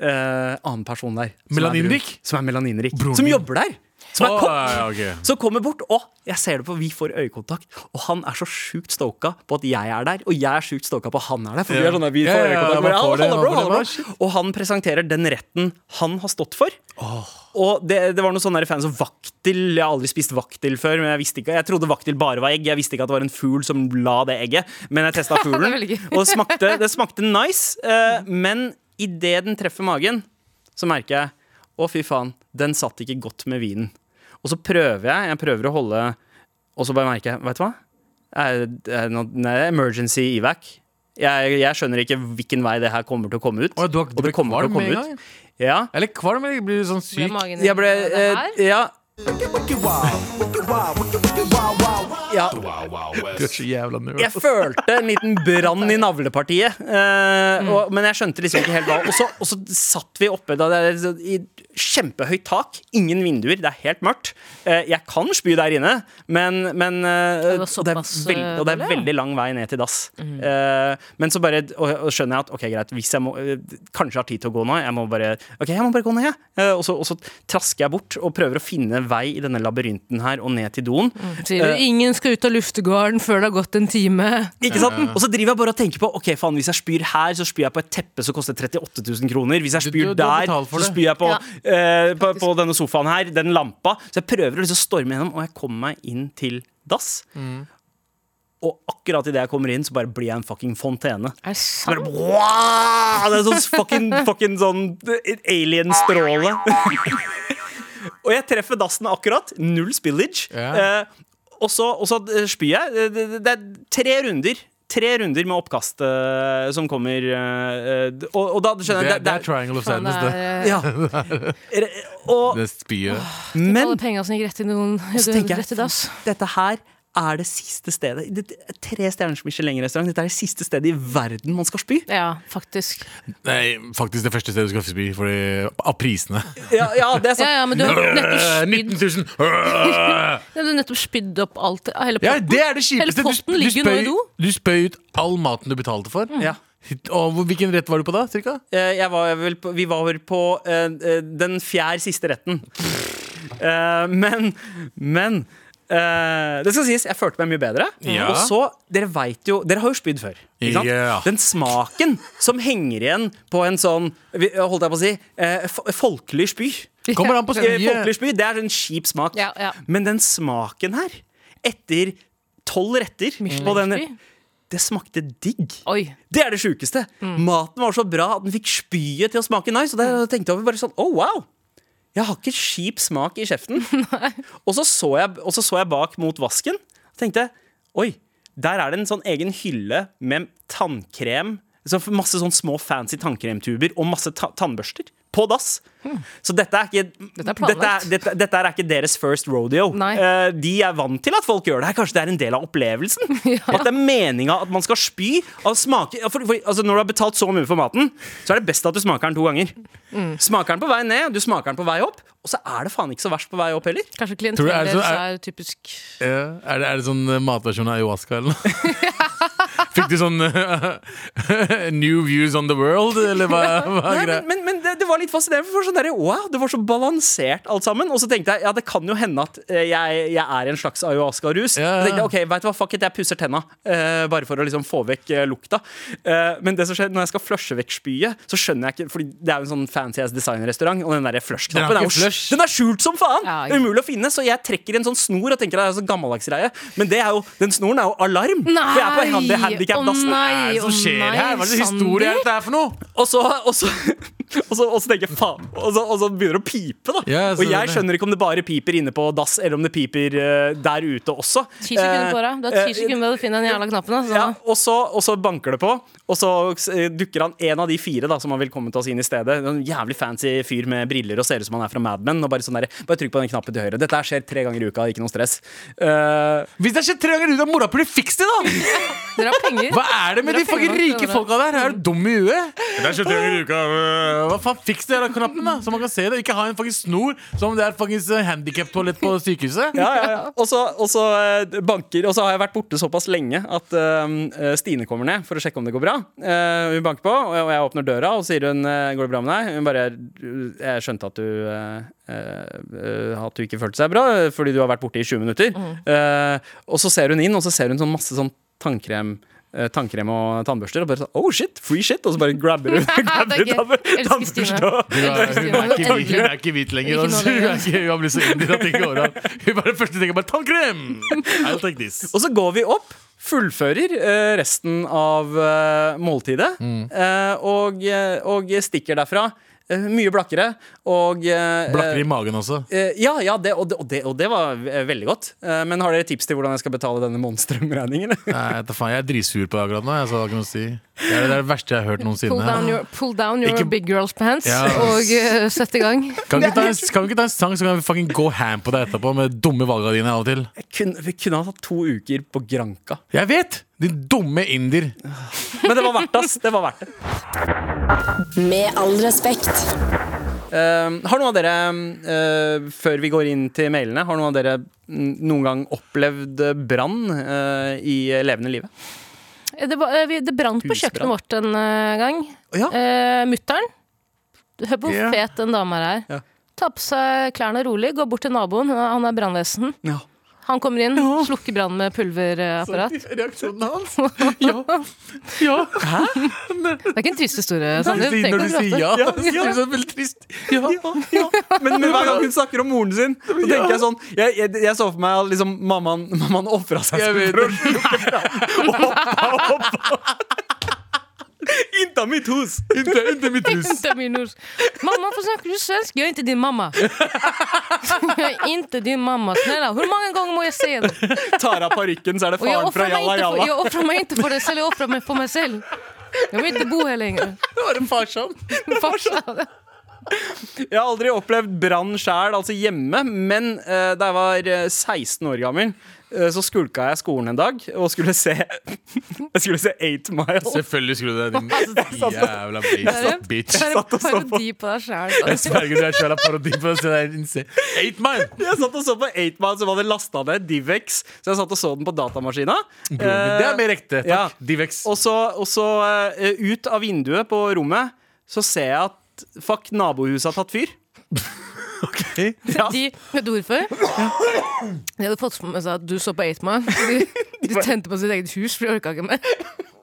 Speaker 3: eh, annen person der. som er
Speaker 2: Melaninrik?
Speaker 3: brun, Som er melaninrik.
Speaker 2: Broren
Speaker 3: som
Speaker 2: min.
Speaker 3: jobber der! Som er
Speaker 2: Å,
Speaker 3: kokk!
Speaker 2: ja, ok.
Speaker 3: Som kommer bort, og jeg ser det på, vi får øyekontakt. Og han er så sjukt stoka på at jeg er der, og jeg er sjukt stoka på at han er der. For vi
Speaker 2: Ja.
Speaker 3: er sånn der, vi
Speaker 2: Ja,
Speaker 3: får
Speaker 2: ja, ja,
Speaker 3: øyekontakt
Speaker 2: man
Speaker 3: bare,
Speaker 2: får det,
Speaker 3: «Halla,
Speaker 2: man
Speaker 3: bro,
Speaker 2: får det,
Speaker 3: halla,
Speaker 2: man,
Speaker 3: bro». Og han presenterer den retten han har stått for. Og det, det var noen sånne der fans som vaktel. Jeg har aldri spist vaktel før. Men Jeg visste ikke, jeg trodde vaktel bare var egg. Jeg visste ikke at det var en fugl som la det egget. Men jeg
Speaker 4: *laughs*
Speaker 3: testa fuglen,
Speaker 4: er veldig gøy.
Speaker 3: og det smakte, det smakte nice. eh, men idet den treffer magen, så merker jeg å, fy faen, den satt ikke godt med vinen. Og så prøver jeg, jeg prøver å holde Og så bare merker jeg, vet du hva? Er, er det noe- nei, emergency evac. Jeg, jeg skjønner ikke hvilken vei det her kommer til å komme ut.
Speaker 2: Å, du har- du
Speaker 3: og det
Speaker 2: ble
Speaker 3: kommer til å
Speaker 2: kvalm med
Speaker 3: komme
Speaker 2: en gang,
Speaker 3: ut. Ja,
Speaker 2: Eller kvalm, eller blir du sånn syk?
Speaker 4: Med magen
Speaker 3: jeg ble
Speaker 4: din.
Speaker 3: eh,
Speaker 4: Det her?
Speaker 3: ja, ja,
Speaker 2: Du er så jævla nerd.
Speaker 3: jeg følte en liten brann i navlepartiet. eh, og, men jeg skjønte liksom ikke helt hva. Og så, og så satt vi oppe da, det er, så- i kjempehøyt tak. Ingen vinduer, det er helt mørkt. Eh, jeg kan spy der inne, men, men eh,
Speaker 4: Det var
Speaker 3: og, det er
Speaker 4: såpass,
Speaker 3: veld, og det er
Speaker 4: eh, dårlig, Mhm.
Speaker 3: veldig lang vei ned til dass. Eh, men så bare og, og skjønner jeg at ok, greit, hvis jeg må, eh, kanskje har tid til å gå nå, jeg må bare, ok, jeg må bare gå ned. jeg. Eh, og, så, og så trasker jeg bort og prøver å finne vei i denne labyrinten her og ned til doen.
Speaker 4: Mm.
Speaker 3: Eh,
Speaker 4: Sier du ingen skal ut av luftegården før det har gått en time?
Speaker 3: Ikke sant? Og så driver jeg bare og tenker på Ok, faen, hvis jeg spyr her, så spyr jeg på et teppe som koster 38 000 kroner. Hvis jeg
Speaker 2: Du-
Speaker 3: spyr
Speaker 2: du- du har
Speaker 3: der,
Speaker 2: betalt for det.
Speaker 3: så spyr jeg på, eh, på, på denne sofaen her, den lampa. Så jeg prøver å liksom storme gjennom, og jeg kommer meg inn til dass.
Speaker 2: Mm.
Speaker 3: Og akkurat idet jeg kommer inn, så bare blir jeg en fucking fontene.
Speaker 4: Er det
Speaker 3: Så
Speaker 4: sant?
Speaker 3: Bare, wow! Det er sånn fucking, fucking sånn alien-stråle. *laughs* og jeg treffer dassen akkurat. Null spillage.
Speaker 2: Ja.
Speaker 3: Eh, og så, og så eh, spyr jeg. Det, det, det er tre runder. tre runder med oppkast eh, som kommer. eh, eh, og, og da skjønner
Speaker 2: Det,
Speaker 3: jeg
Speaker 2: er- det er Triangle of
Speaker 4: Faen,
Speaker 2: Sadness,
Speaker 4: det
Speaker 2: det.
Speaker 4: *laughs* er, eh,
Speaker 3: ja. Re- Og,
Speaker 2: Det spyet.
Speaker 3: men
Speaker 4: alle pengene som gikk rett i noen
Speaker 3: så tenker
Speaker 4: rett i
Speaker 3: jeg
Speaker 4: dass.
Speaker 3: dette her er det siste stedet det, det- Tre stjerners Michelin-restaurant. Dette er det siste stedet i verden man skal spy.
Speaker 4: Ja, faktisk.
Speaker 2: Nei, faktisk det første stedet du skal spy, fordi av prisene.
Speaker 3: Ja, ja det er sant.
Speaker 4: Ja, ja, men du har
Speaker 2: *laughs*
Speaker 4: nettopp
Speaker 2: Øh,
Speaker 4: spydd
Speaker 2: 19 000! Øh.
Speaker 4: Ja, Du har nettopp spydd opp alt. Hele
Speaker 2: Ja,
Speaker 4: potten.
Speaker 2: det er det kjipeste.
Speaker 4: Hele potten ligger nå i do. Mm.
Speaker 2: du spøy ut all maten du betalte for.
Speaker 3: Ja.
Speaker 2: Og hvor- hvilken rett var du på da? Cirka?
Speaker 3: Eh, Jeg var vel på, vi var vel på eh, eh, den fjerde siste
Speaker 2: *laughs*
Speaker 3: retten. Eh, men men eh, det skal sies, jeg følte meg mye bedre.
Speaker 2: Ja.
Speaker 3: Og så, Dere vet jo Dere har jo spydd før. Ikke sant?
Speaker 2: Ja.
Speaker 3: Den smaken som henger igjen på en sånn vi- Holdt jeg på å si eh, fo- folkelig spy.
Speaker 2: Kommer an på
Speaker 3: Eh,
Speaker 2: spyet.
Speaker 3: Folkelig spy, Det er en kjip smak.
Speaker 4: Ja, ja.
Speaker 3: Men den smaken her, etter tolv retter på den,
Speaker 4: Michelin-spy?
Speaker 3: Det smakte digg.
Speaker 4: Oi.
Speaker 3: Det er det sjukeste.
Speaker 4: Mm.
Speaker 3: Maten var så bra at den fikk spyet til å smake nice. Og der tenkte jeg over bare sånn, oh wow Jeg har ikke kjip smak
Speaker 4: *laughs*
Speaker 3: i kjeften. og, så så jeg, og så så jeg bak mot vasken og tenkte oi, der er det en sånn egen hylle med tannkrem. Så masse sånn små fancy tannkremtuber og masse ta tannbørster. På dass. Så dette er ikke
Speaker 4: Hmm. er planlagt.
Speaker 3: dette, dette, dette er ikke deres first rodeo.
Speaker 4: Nei.
Speaker 3: Eh, de er vant til at folk gjør det her. Kanskje det er en del av opplevelsen? At det er meninga at man skal spy av smake ja, for, for, altså, Når du har betalt så mye for maten, så er det best at du smaker den to ganger. Smaker den på vei ned, du smaker den på vei opp, og så er det faen ikke så verst på vei opp heller.
Speaker 4: Kanskje
Speaker 2: Tror du
Speaker 4: klientellet
Speaker 2: er det
Speaker 4: deres
Speaker 2: så-
Speaker 4: er typisk
Speaker 2: Ja. Er, det, er det sånn eh, matversjon av ayahuasca eller noe? *laughs* Fikk du sånn eh, *laughs* New views on the world, eller hva,
Speaker 4: *laughs*
Speaker 2: hva er
Speaker 3: Nei,
Speaker 2: greia?
Speaker 3: men, men, men det, det var litt fascinerende. For det var sånn der, wow, det var så balansert alt sammen. Og så tenkte jeg ja, det kan jo hende at eh, jeg, jeg er i en slags ayahuasca-rus. Så
Speaker 2: Ja, ja.
Speaker 3: tenkte jeg, ok, vet du hva, fuck it, jeg pusser tenna. eh, bare for å liksom få vekk eh, lukta. Eh, men det som skjer når jeg skal flushe vekk spyet, så skjønner jeg ikke Fordi det er jo en sånn fancy ass designrestaurant, og den der
Speaker 2: Den
Speaker 3: flush-knappen
Speaker 2: har
Speaker 3: er,
Speaker 2: ikke
Speaker 3: jo sk-
Speaker 2: flush.
Speaker 3: den er skjult som faen!
Speaker 4: Ja,
Speaker 3: Det er Umulig å finne. Så jeg trekker en sånn snor og tenker at det er en sånn gammeldags greie. Men det er jo, den snoren er jo alarm! For jeg er på hand- handicap-dassen.
Speaker 4: nei,
Speaker 2: Hva er det som
Speaker 4: å
Speaker 2: skjer
Speaker 4: nei,
Speaker 2: her? Hva er det
Speaker 4: Sandy?
Speaker 2: historie er dette her for noe?
Speaker 3: Og så, og så, og så, og så tenker jeg faen og så, og så begynner det å pipe, da.
Speaker 2: Ja, jeg ser
Speaker 3: og jeg
Speaker 2: det.
Speaker 3: skjønner ikke om det bare piper inne på dass, eller om det piper eh, der ute også.
Speaker 4: Ti sekunder på deg. Du har
Speaker 3: Eh,
Speaker 4: ti sekunder på deg å finne den jævla knappen. Altså.
Speaker 3: ja, og, så, og så banker det på, og så eh, dukker han en av de fire da som har velkommet oss inn i stedet. En jævlig fancy fyr med briller og ser ut som han er fra Mad Men. Og bare sånn der, bare trykk på den knappen til høyre. Dette her skjer tre ganger i uka, ikke noe stress. Eh,
Speaker 2: Hvis det har skjedd tre ganger ut av morapuler, fiks det, da!
Speaker 4: *laughs* Dere har penger.
Speaker 2: Hva er det med de
Speaker 4: Dere har
Speaker 2: fucking
Speaker 4: penger nok
Speaker 2: rike
Speaker 4: til å
Speaker 2: folka der? Er du dum i huet? Det er 70 ganger i uka. Øh, Hva faen, Fiks det der knappen, da, så man kan se det. Ikke ha en fucking snor som om det er fuckings handikap-toalett på sykehuset.
Speaker 3: ja, ja, ja. Og så, og så eh, banker Og så har jeg vært borte såpass lenge at eh, Stine kommer ned for å sjekke om det går bra. Eh, hun banker på, og jeg, og jeg åpner døra, og sier hun eh, 'går det bra med deg?' Hun bare 'jeg skjønte at du eh, eh, at du ikke følte seg bra fordi du har vært borte i 20 minutter'.
Speaker 4: Mm.
Speaker 3: Eh, og så ser hun inn, og så ser hun sånn masse sånn tannkrem. eh, Tannkrem og tannbørster, og bare sånn, oh shit, free shit! Og så bare grabber hun *laughs* grabber
Speaker 4: Det er
Speaker 3: hun
Speaker 4: gøy. Elsker Stine.
Speaker 3: tannbørsta.
Speaker 2: Hun er, hun, er ikke, hvit- hun er ikke hvit lenger.
Speaker 4: Ikke nå
Speaker 2: Altså. Hun, er
Speaker 4: lenger.
Speaker 2: ikke, hun har blitt så indier at det ikke går an. Hun bare første tenker bare 'tannkrem'! I'll take this.
Speaker 3: Og så går vi opp, fullfører eh, resten av eh, måltidet,
Speaker 2: Mm.
Speaker 3: eh, og, eh, og stikker derfra. Eh, mye blakkere, og eh,
Speaker 2: Blakker i magen også.
Speaker 3: eh, ja, ja det, og, det, og, det, og det var eh, veldig godt. Eh, men har dere tips til hvordan jeg skal betale denne monstrumregningen?
Speaker 2: Nei, vet du faen, jeg er dritsur på det akkurat nå. Jeg sa det ikke noe å si. Det er det er det verste jeg har hørt
Speaker 4: Pull down
Speaker 2: noensinne.
Speaker 4: your, pull down your
Speaker 2: Ikke-
Speaker 4: big girls pants
Speaker 2: Ja.
Speaker 4: og eh, sett i gang.
Speaker 2: Kan vi ikke ta en, kan vi ikke ta en sang, så kan vi fucking gå ham på deg etterpå med dumme valga dine av og til?
Speaker 3: *laughs* Jeg kunne, vi kunne ha tatt to uker på Granka.
Speaker 2: Jeg vet! Din dumme inder.
Speaker 3: Men det var verdt ass. det. var verdt det.
Speaker 1: Med all respekt.
Speaker 3: Eh, har noen av dere, eh, før vi går inn til mailene, har noen av dere mm, noen gang opplevd eh, brann eh, i levende livet?
Speaker 4: Eh, Det, var, eh, vi- det brant på
Speaker 3: Husbrann.
Speaker 4: kjøkkenet vårt en eh, gang.
Speaker 3: Ja.
Speaker 4: Eh, Mutter'n. Hør på hvor
Speaker 2: Ja.
Speaker 4: fet den dama her
Speaker 3: Ja.
Speaker 4: er. Ta på seg klærne rolig, gå bort til naboen. Han er brannvesen.
Speaker 3: Ja.
Speaker 4: Han kommer inn, slukker brannen med pulverapparat.
Speaker 3: Sånn
Speaker 2: Reaksjonen hans?
Speaker 4: Det er ikke en trist historie, Sander.
Speaker 2: Når du
Speaker 4: Tenk
Speaker 2: sier-
Speaker 4: å
Speaker 2: når du sier
Speaker 4: gråte.
Speaker 2: ja,
Speaker 3: Ja,
Speaker 2: så blir *laughs* det sånn veldig trist.
Speaker 3: *laughs* ja, ja. Men, men hver *laughs* gang hun snakker om moren sin, så tenker jeg sånn Jeg, jeg, jeg så for meg at liksom, mammaen, mammaen ofra seg
Speaker 2: Jeg
Speaker 3: selv *laughs*
Speaker 2: vet
Speaker 3: for å slukke brann. Og hoppa, hoppa. Inte mitt hus!
Speaker 2: Inte, inte mitt hus.
Speaker 4: Inte min hus. Mamma, varför snackar du svenska? Jag är inte din mamma. *laughs* Jag är inte din mamma. Snälla, hur många gånger må jag säga det?
Speaker 3: Tar av parykken, så er det
Speaker 4: Och jag
Speaker 3: faren fra
Speaker 4: offrar mig
Speaker 3: Jalla
Speaker 4: inte för,
Speaker 3: Jalla.
Speaker 4: jag offrar mig inte för det selv, jag offrar mig på mig själv. Jag vill inte bo här längre.
Speaker 3: Det var en farsom.
Speaker 4: Farsan.
Speaker 3: Jeg har aldri opplevd brann sjæl, altså hjemme, men eh, da jeg var eh, 16 år gammel, eh, så skulka jeg skolen en dag og skulle se *laughs* Jeg skulle se 8 Mile.
Speaker 2: *laughs* Selvfølgelig skulle du det,
Speaker 3: Altså, sånn
Speaker 2: din jævla bitch. bitch.
Speaker 4: Det
Speaker 3: satt og så
Speaker 4: er
Speaker 3: på.
Speaker 4: en parodi på deg sjæl.
Speaker 2: Sverger, du er sjæla parodi på det. der innse- Eight Mile!
Speaker 3: Jeg satt og så på 8 Mile, som hadde lasta ned Divex, så jeg satt og så den på datamaskina.
Speaker 2: Broren min. Det er
Speaker 3: Eh,
Speaker 2: mer ekte.
Speaker 3: ja.
Speaker 2: Takk. Divex.
Speaker 3: Og så, og så eh, ut av vinduet på rommet, så ser jeg at fuck, nabohuset har tatt fyr.
Speaker 2: Ok.
Speaker 3: Ja,
Speaker 4: De, vet du hvorfor? De hadde fått med seg at du så på Eightman. De, de tente på sitt eget hus, for de orka ikke mer.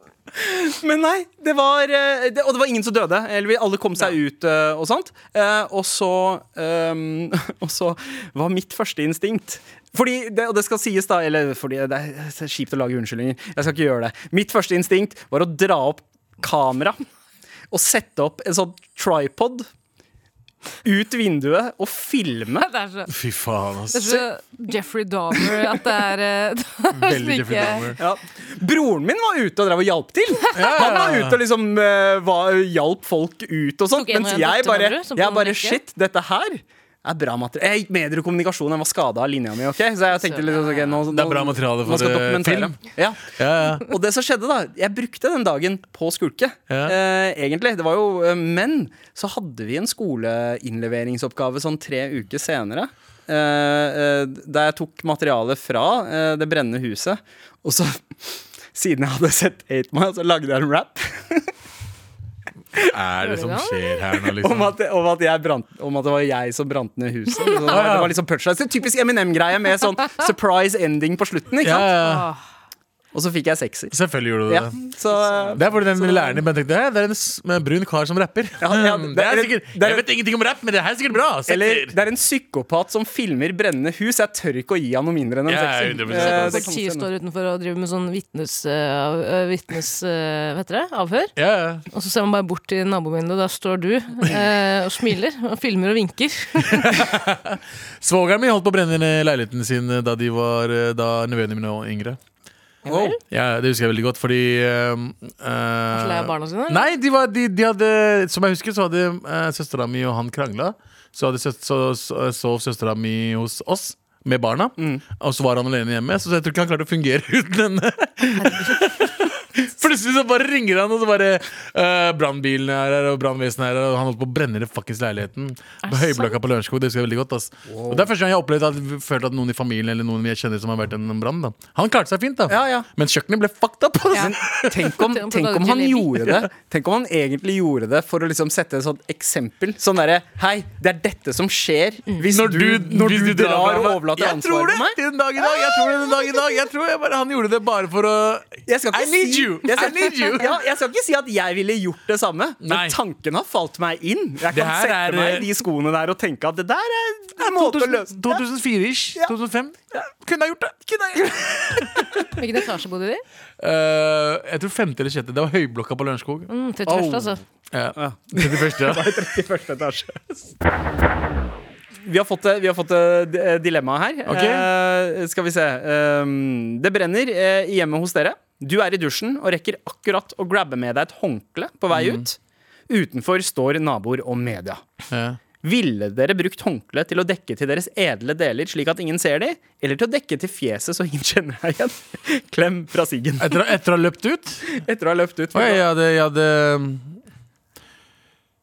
Speaker 4: *laughs*
Speaker 3: Men nei, det var eh, det, Og det var ingen som døde. Eller vi alle kom seg ut eh, og sånt. Eh, Og så ehm, *laughs* Og så var mitt første instinkt fordi det, og det skal sies, da Eller fordi det er kjipt å lage unnskyldninger. Jeg skal ikke gjøre det. Mitt første instinkt var å dra opp kamera og sette opp en sånn tripod ut vinduet og filme.
Speaker 4: Det er så,
Speaker 2: Fy faen, ass.
Speaker 4: det er så Jeffrey Dahmer at det er, eh, *laughs* det er
Speaker 2: Veldig Jeffrey Dahmer.
Speaker 3: Ja. Broren min var ute og drev og hjalp til. Han var ute og liksom eh, var, hjalp folk ut og sånt.
Speaker 4: Tok en
Speaker 3: Mens
Speaker 4: av
Speaker 3: jeg
Speaker 4: døtrene
Speaker 3: bare,
Speaker 4: du, som
Speaker 3: jeg
Speaker 4: kom
Speaker 3: bare
Speaker 4: vekk?
Speaker 3: Shit, dette her er bra materiale. Jeg gikk medier og kommunikasjon, jeg var skada av linja mi. ok? Så jeg tenkte liksom, ok, nå, nå,
Speaker 2: Det er bra materiale for eh,
Speaker 3: man skal
Speaker 2: det,
Speaker 3: dokumentere. Ja.
Speaker 2: Ja, ja.
Speaker 3: Og det som skjedde, da Jeg brukte den dagen på skulke,
Speaker 2: Ja.
Speaker 3: eh, egentlig. Det var jo, eh, men så hadde vi en skoleinnleveringsoppgave sånn tre uker senere. eh, eh, der jeg tok materialet fra eh, det brennende huset. Og så, *laughs* siden jeg hadde sett 8 Mile, så lagde jeg en rap
Speaker 2: Er det som skjer her nå,
Speaker 3: om
Speaker 2: liksom?
Speaker 3: at, om at, jeg brant, om at det var jeg som brant ned huset. Så det var, det var liksom punchline. Så Typisk Eminem-greie med sånn surprise ending på slutten. Ikke
Speaker 2: Ja,
Speaker 3: sant?
Speaker 2: ja.
Speaker 4: Åh,
Speaker 3: Og så fikk jeg sekser.
Speaker 2: Selvfølgelig gjorde du
Speaker 3: Ja,
Speaker 2: det.
Speaker 3: så, eh,
Speaker 2: Det er fordi den læreren din bare tenkte «Hæ, Det er en s- med brun kar som rapper.
Speaker 3: Ja, ja,
Speaker 2: Mm, det
Speaker 3: det er-
Speaker 2: er sikkert,
Speaker 3: det er-
Speaker 2: jeg vet ingenting om rapp, men det her er sikkert bra.
Speaker 3: Eller
Speaker 2: Setter.
Speaker 3: det er en psykopat som filmer brennende hus. Jeg tør ikke å gi han noe mindre enn en
Speaker 2: Ja, 100%.
Speaker 3: sekser. Eh, det kan
Speaker 4: Politiet
Speaker 3: stemme.
Speaker 4: står utenfor og driver med sånn vitnes... eh, av- vitnes eh, vet dere? Avhør.
Speaker 2: Ja, ja.
Speaker 4: Og så ser man bare bort til naboen min, og der står du eh, og smiler og filmer og vinker. *laughs*
Speaker 2: Svogeren min holdt på å brenne ned leiligheten sin eh, da de var eh, Da nevøene mine var yngre.
Speaker 3: Wow.
Speaker 2: Ja, Det husker jeg veldig godt, fordi
Speaker 4: Til
Speaker 2: uh,
Speaker 4: jeg er barna sine. eller?
Speaker 2: Nei, de var, de, de hadde, som jeg husker, så hadde uh, søstera mi og han krangla. Så, hadde søs, så, så eh, sov søstera mi hos oss med barna,
Speaker 4: Mm.
Speaker 2: og så var han alene hjemme. Så jeg tror ikke han klarte å fungere *laughs* uten henne. *laughs* Plutselig så bare ringer han, og så bare uh, Brannbilen er her, og brannvesenet er her, og han holdt på å brenne ned fuckings leiligheten. På Høyblokka på Lørenskog. Det husker jeg veldig godt. Ass. Og Det er første gang jeg har opplevd at, følt at noen i familien eller noen jeg kjenner som har vært i en brann. da. Han klarte seg fint, da.
Speaker 3: Ja, ja.
Speaker 2: Men kjøkkenet ble fucked up. ass.
Speaker 3: Men altså. *laughs* tenk om,
Speaker 4: Tenk på
Speaker 3: tenk om han
Speaker 4: Jalebi.
Speaker 3: gjorde det Tenk om han egentlig gjorde det for å liksom sette et sånt eksempel. Sånn derre Hei, det er dette som skjer hvis
Speaker 2: Når
Speaker 3: du, når du drar og overlater
Speaker 2: Jeg tror
Speaker 3: ansvaret
Speaker 2: det
Speaker 3: på meg.
Speaker 2: til den dag i dag. Jeg tror det den dag i dag Jeg tror jeg bare, han gjorde det bare for å
Speaker 3: Jeg skal ikke
Speaker 2: I need
Speaker 3: si,
Speaker 2: you.
Speaker 3: Jeg skal,
Speaker 2: I need you.
Speaker 3: Ja, jeg skal ikke si at jeg ville gjort det samme,
Speaker 2: Nei.
Speaker 3: men tanken har falt meg inn. Jeg
Speaker 2: Det
Speaker 3: kan
Speaker 2: her
Speaker 3: sette
Speaker 2: er,
Speaker 3: meg
Speaker 2: eh,
Speaker 3: i de skoene der og tenke at det der er en måte å løse
Speaker 2: 2004-ish. 2005. Kunne ha gjort det.
Speaker 4: Hvilken etasje bodde de i?
Speaker 2: Eh, jeg tror femte eller sjette. Det var Høyblokka på Lørenskog.
Speaker 4: Mm, 31., altså.
Speaker 2: Ja. Det er det *laughs* første, ja.
Speaker 3: i første etasje. Vi har fått, det- vi har fått det d- dilemma her.
Speaker 2: Ok.
Speaker 3: Eh, skal vi se. Um, det brenner eh, i hjemmet hos dere. Du er i dusjen og rekker akkurat å grabbe med deg et håndkle på vei ut. Utenfor står naboer og media.
Speaker 2: ja.
Speaker 3: Ville dere brukt håndkle til å dekke til deres edle deler slik at ingen ser de? Eller til å dekke til fjeset så ingen *laughs* kjenner deg igjen? Klem fra Siggen.
Speaker 2: Etter, å- etter å ha løpt ut?
Speaker 3: Etter å ha løpt ut.
Speaker 2: Oi, jeg hadde Jeg, hadde,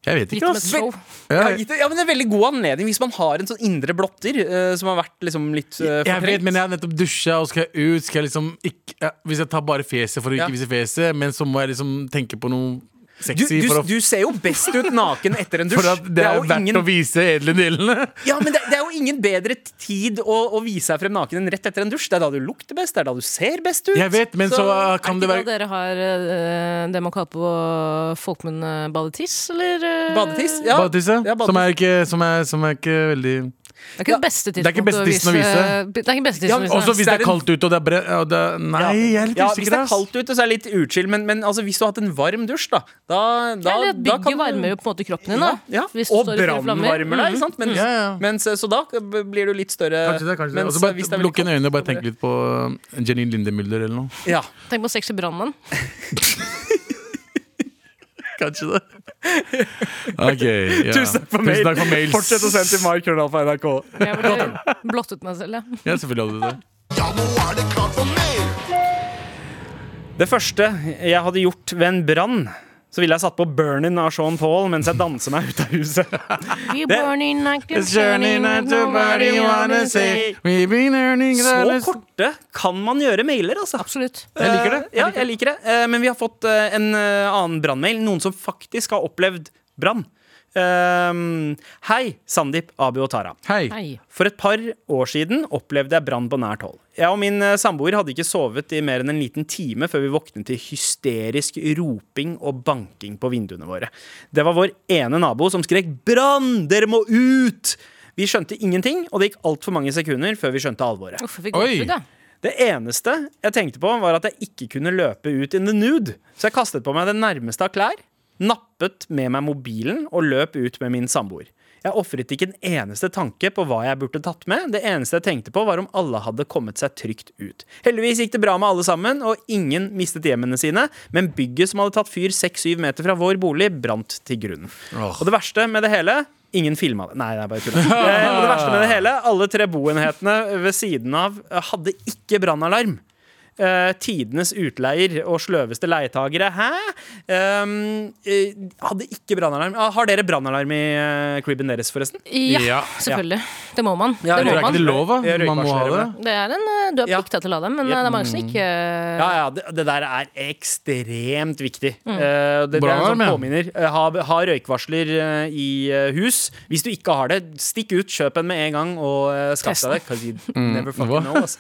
Speaker 2: jeg vet
Speaker 4: Gitt
Speaker 2: ikke,
Speaker 4: med
Speaker 2: ass.
Speaker 4: et show.
Speaker 2: Ja,
Speaker 3: Ja, gitt det- ja, men det er en veldig god anledning hvis man har en sånn indre blotter eh, som har vært liksom litt
Speaker 2: Jeg
Speaker 3: eh, fortrengt.
Speaker 2: vet, men jeg har nettopp dusja og skal jeg ut. Skal jeg liksom ikke, ja, hvis jeg tar bare fjeset for å ikke
Speaker 3: Ja.
Speaker 2: vise fjeset, men så må jeg liksom tenke på noe
Speaker 3: du,
Speaker 2: sexy
Speaker 3: du,
Speaker 2: for, å,
Speaker 3: du ser jo best ut naken etter en dusj.
Speaker 2: *laughs* for at det er
Speaker 3: jo
Speaker 2: verdt
Speaker 3: ingen,
Speaker 2: å vise edle
Speaker 3: *laughs*
Speaker 2: delene.
Speaker 3: ja, men det, det er jo ingen bedre tid å, å vise seg frem naken enn rett etter en dusj. Det er da du lukter best, det er da du ser best ut.
Speaker 2: Jeg vet, men så,
Speaker 3: Så-
Speaker 2: kan
Speaker 4: Det
Speaker 2: det være
Speaker 4: dere har eh, det man kaller på folkemunne badetiss, eller? eh,
Speaker 3: Badetiss? Ja.
Speaker 2: Badetisse?
Speaker 3: Ja, badetisse.
Speaker 2: Som, er ikke, som, er, som er ikke veldig
Speaker 4: Det er ikke det beste
Speaker 2: er ikke
Speaker 4: tidspunktet
Speaker 2: beste tissen å vise.
Speaker 4: Det er ikke beste
Speaker 3: Ja,
Speaker 4: tissen å vise.
Speaker 2: Også
Speaker 4: nei.
Speaker 2: hvis det er kaldt ute og det er bre... Og det er, nei, jeg er litt
Speaker 3: ja, Hvis
Speaker 2: usikker.
Speaker 3: det er
Speaker 2: ass.
Speaker 3: kaldt ute, så er det litt utskill, men, men altså, hvis du har hatt en varm dusj, da, Da, da,
Speaker 4: Eller at
Speaker 3: da kan
Speaker 4: bygget
Speaker 3: du-
Speaker 4: varmer jo på en måte kroppen din. da
Speaker 3: Ja,
Speaker 4: Hvis du
Speaker 3: ja. Og
Speaker 4: står i flere flammer. Mm-hmm.
Speaker 3: brannvarmer deg, ikke sant? Mens,
Speaker 2: Ja, ja.
Speaker 3: Mens, eh, så da blir du litt større.
Speaker 2: Kanskje det, kanskje det.
Speaker 3: mens eh,
Speaker 2: Altså, bare
Speaker 3: hvis det er veldig
Speaker 2: Lukk inn
Speaker 3: kaldt,
Speaker 2: øynene og bare
Speaker 3: så blir
Speaker 2: tenk litt på Jenny Lindemulder eller noe.
Speaker 3: det- Ja.
Speaker 4: Tenk på sexy
Speaker 3: *laughs*
Speaker 4: brannmann.
Speaker 2: Kanskje det. Ok, ja.
Speaker 3: Tusen takk for mail.
Speaker 2: Tusen takk for mails.
Speaker 3: Fortsett å sende til markrøllalfa.nrk.
Speaker 4: Jeg ville blottet meg selv, jeg.
Speaker 2: Ja, selvfølgelig hadde du det.
Speaker 6: Ja, nå er det klart for mail!
Speaker 3: Det første jeg hadde gjort ved en brann, så ville jeg satt på Burnin' av Sean Paul mens jeg danser meg ut av
Speaker 2: *laughs*
Speaker 3: huset.
Speaker 4: We born in 1970, nobody wanna say.
Speaker 3: Så korte kan man gjøre mailer, altså.
Speaker 4: Absolutt.
Speaker 3: Jeg liker det. ja, jeg liker det. Eh, men vi har fått eh, en eh, annen brannmail. Noen som faktisk har opplevd brann. Eh, hei, Sandeep, Abu og Tara.
Speaker 2: Hei.
Speaker 4: Nei.
Speaker 3: For et par år siden opplevde jeg brann på nært hold. Jeg og min eh, samboer hadde ikke sovet i mer enn en liten time før vi våknet til hysterisk roping og banking på vinduene våre. Det var vår ene nabo som skrek 'brann! Dere må ut!' Vi skjønte ingenting, og det gikk altfor mange sekunder før vi skjønte alvoret.
Speaker 4: Uff, jeg fikk
Speaker 2: Oi.
Speaker 4: gåsehud, jeg.
Speaker 3: Det eneste jeg tenkte på, var at jeg ikke kunne løpe ut in the nude. Så jeg kastet på meg det nærmeste av klær, nappet med meg mobilen og løp ut med min samboer. Jeg ofret ikke en eneste tanke på hva jeg burde tatt med. Det eneste jeg tenkte på, var om alle hadde kommet seg trygt ut. Heldigvis gikk det bra med alle sammen, og ingen mistet hjemmene sine, men bygget som hadde tatt fyr 6-7 meter fra vår bolig, brant til grunnen.
Speaker 2: Åh.
Speaker 3: Og det verste med det hele Ingen filma det. Nei, det er bare tull. Eh, og det verste med det hele, alle tre boenhetene ved siden av eh, hadde ikke brannalarm. Eh, tidenes utleier og sløveste leietagere. Hæ? Um, eh, hadde ikke brannalarm. Ah, har dere brannalarm i eh, cribben deres, forresten?
Speaker 4: Ja,
Speaker 2: Ja.
Speaker 4: selvfølgelig. Det må man.
Speaker 3: Ja,
Speaker 4: det må
Speaker 2: Det er ikke
Speaker 4: man.
Speaker 2: det lov, da.
Speaker 3: Jeg røyker
Speaker 2: Man må ha
Speaker 3: varsler,
Speaker 2: det.
Speaker 3: men-
Speaker 4: Det er en, eh, du er
Speaker 3: Ja. Mm.
Speaker 4: plikta til å la dem, men eh, det er mange som ikke eh,
Speaker 3: Ja, ja, det, det der er ekstremt viktig. Eh, det, det er en
Speaker 2: Brannalarm,
Speaker 3: sånn
Speaker 2: ja.
Speaker 3: påminner. Eh, ha, ha røykvarsler eh, i eh, hus. Hvis du ikke har det, stikk ut, kjøp en med en gang og eh, skaff
Speaker 4: Test
Speaker 3: deg det. 'cause you never
Speaker 2: hva?
Speaker 3: fucking know, ass.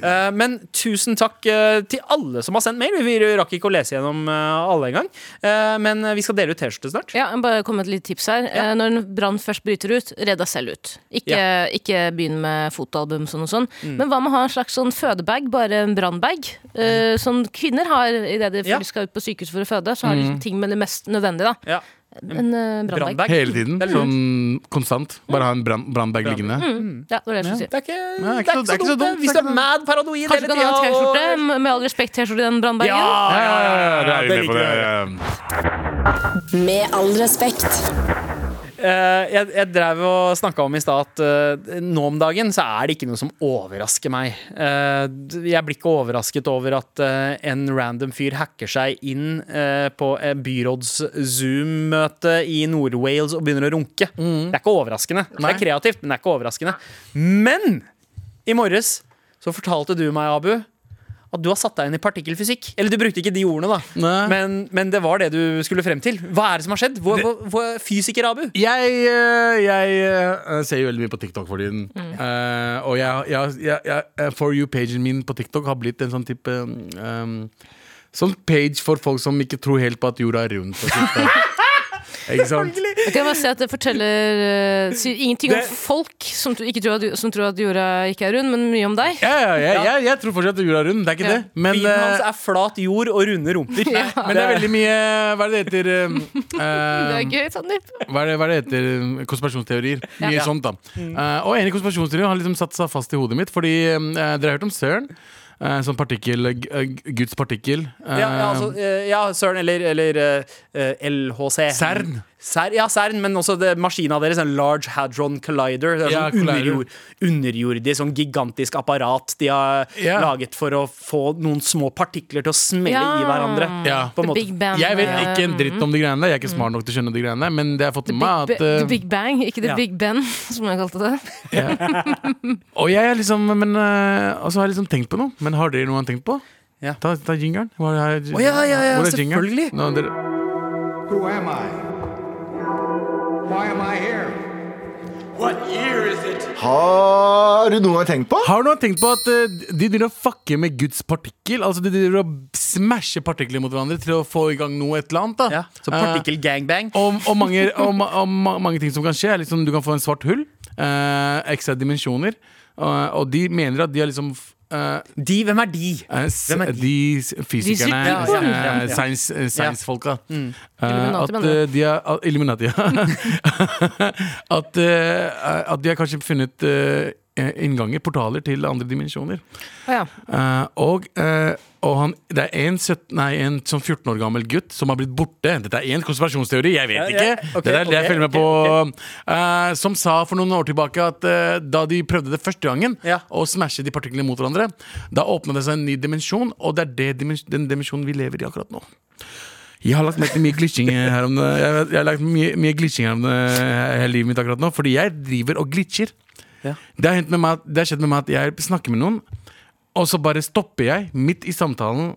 Speaker 3: Eh, men tusen takk eh, til alle som har sendt mail. Vi rakk ikke å lese gjennom eh, alle engang. Uh, men eh, vi skal dele ut T-skjorte snart.
Speaker 4: Ja, jeg må bare komme med et lite tips her. Eh, Når en brann først bryter ut, redd deg selv ut. Ikke, ikke begynn med fotoalbum sånn og sånn.
Speaker 3: Mm.
Speaker 4: Men hva med å ha en slags sånn fødebag, bare en brannbag? Eh, Som kvinner har idet de
Speaker 3: Mm. Ja.
Speaker 4: skal ut på sykehus for å føde. Så har de ting med det mest nødvendige, da.
Speaker 3: Ja.
Speaker 4: En eh, brannbag.
Speaker 3: Brannbag.
Speaker 2: Hele tiden.
Speaker 3: Det er lurt.
Speaker 2: Sånn konstant. Bare ha en brann- brannbag liggende.
Speaker 4: Ja, det var det jeg skulle si.
Speaker 3: Det er ikke,
Speaker 2: Nei,
Speaker 3: det er ikke så dumt, det. Hvis du er mad paranoid hele
Speaker 4: Kanskje du kan ha en
Speaker 3: tida, og-
Speaker 4: T-skjorte, med- med all respekt, T-skjorte i den brannbagen.
Speaker 3: Ja, ja, ja, ja, ja, det liker jeg.
Speaker 1: Med all respekt.
Speaker 3: Eh, jeg, jeg drev og snakka om i stad at eh, nå om dagen så er det ikke noe som overrasker meg. Eh, d- jeg blir ikke overrasket over at eh, en random fyr hacker seg inn eh, på eh, byråds Zoom-møte i Nord-Wales og begynner å runke. Det er ikke overraskende. Det er kreativt, men det er ikke overraskende. Men i morges så fortalte du meg, Abu, at du har satt deg inn i partikkelfysikk. Eller du brukte ikke de ordene, da.
Speaker 2: Nei.
Speaker 3: Men, men det var det du skulle frem til. Hva er det som har skjedd? Hvor, hvor, hvor, fysiker, Abu?
Speaker 2: Jeg, eh, jeg eh, ser jo veldig mye på TikTok for tiden. Eh, og jeg, jeg, jeg, jeg, For you-pagen min på TikTok har blitt en sånn type um, Sånn page for folk som ikke tror helt på at jorda er *laughs* rund. på TikTok. Ikke sant?
Speaker 4: Jeg kan bare si at det forteller eh, sier ingenting om folk som, tro- ikke tror at, som tror at jorda ikke er rund, men mye om deg.
Speaker 2: Ja, ja, jeg, jeg, jeg tror fortsatt at jorda er rund. Det er ikke
Speaker 4: Ja.
Speaker 2: det. Men,
Speaker 3: Bilen hans
Speaker 2: eh,
Speaker 3: er flat jord og runde rumper.
Speaker 2: men det er veldig mye Hva er det det heter? eh,
Speaker 4: Det
Speaker 2: eh,
Speaker 4: er gøy, Sandeep.
Speaker 2: hva er det, hva er det heter? um, Konspirasjonsteorier. Mye
Speaker 3: Ja.
Speaker 2: sånt, da. Eh, og en i konspirasjonsteorien har liksom satt seg fast i hodet mitt, fordi eh, dere har hørt om CERN? Uh, sånn partikkel eh, g- eh, Guds partikkel. eh,
Speaker 3: Ja, ja, altså, eh, ja Søren, eller, eller eh, eh, LHC.
Speaker 2: CERN.
Speaker 3: Ser, ja, CERN, men også det, maskina deres. En sånn Large Hadron Collider. Det er
Speaker 2: Ja,
Speaker 3: sånn
Speaker 2: collider.
Speaker 3: underjord, underjordisk, sånn gigantisk apparat de har
Speaker 2: Ja.
Speaker 3: laget for å få noen små partikler til å smelle
Speaker 4: Ja.
Speaker 3: i hverandre.
Speaker 2: Ja.
Speaker 3: På en
Speaker 4: The
Speaker 3: måte.
Speaker 4: Big Bang.
Speaker 2: Jeg vet
Speaker 4: eh,
Speaker 2: ikke en dritt om de greiene der. Jeg er ikke smart nok til å skjønne de greiene der, men det har jeg fått
Speaker 4: The
Speaker 2: med
Speaker 4: Big, Ba-
Speaker 2: meg at eh,
Speaker 4: The Big Bang, ikke The
Speaker 3: ja.
Speaker 4: Big Ben, *laughs* som jeg kalte det.
Speaker 2: Og jeg er liksom men, eh, Og så har jeg liksom tenkt på noe. Men har dere noe han tenkt på?
Speaker 3: Ja.
Speaker 2: Ta, ta jingeren. Å
Speaker 3: Å, ja, ja, ja, selvfølgelig.
Speaker 2: Nå, dere,
Speaker 7: Who am I? Why am I here?
Speaker 6: Har du noe jeg har tenkt på?
Speaker 2: Har du noen tenkt på at eh, de driver og fucker med Guds partikkel? Altså De driver og smasher partikler mot hverandre til å få i gang noe et eller annet. da
Speaker 3: Ja, så
Speaker 2: Eh,
Speaker 3: partikkel-gangbang.
Speaker 2: og, og, mange, og, ma- og ma- mange ting som kan skje. er Liksom, du kan få en svart hull. Eh, ekstra dimensjoner. og- og de mener at de har liksom f- eh,
Speaker 3: De, hvem er de?
Speaker 2: eh, s-
Speaker 3: Hvem er de?
Speaker 2: de s- fysikerne,
Speaker 4: Ja,
Speaker 3: ja, ja,
Speaker 2: eh,
Speaker 3: ja.
Speaker 2: science- eh, science-folka eh,
Speaker 4: Illuminati,
Speaker 2: At
Speaker 4: mener du?
Speaker 2: eh, de er at- Illuminati, ja. *laughs* at, eh, at de har kanskje funnet eh, innganger, portaler, til andre dimensjoner.
Speaker 4: Ja.
Speaker 2: Eh, og eh, og han, det er en, 17, nei, en sånn 14 år gammel gutt som har blitt borte. Dette er én konspirasjonsteori, jeg vet
Speaker 3: ja,
Speaker 2: ikke.
Speaker 3: ok,
Speaker 2: det er det jeg
Speaker 3: ok,
Speaker 2: følger med
Speaker 3: ok,
Speaker 2: på. eh, som sa for noen år tilbake at eh, da de prøvde det første gangen,
Speaker 3: Ja.
Speaker 2: å smashe de partiklene mot hverandre, da åpna det seg en ny dimensjon, og det er det dimens den dimensjonen vi lever i akkurat nå. Jeg har lagt merke til mye glitching her om det. Jeg, jeg har lagt mye, mye glitching her om det hele livet mitt akkurat nå, fordi jeg driver og glitcher.
Speaker 3: Ja.
Speaker 2: Det har hendt med meg at, det har skjedd med meg at jeg snakker med noen, og så bare stopper jeg midt i samtalen.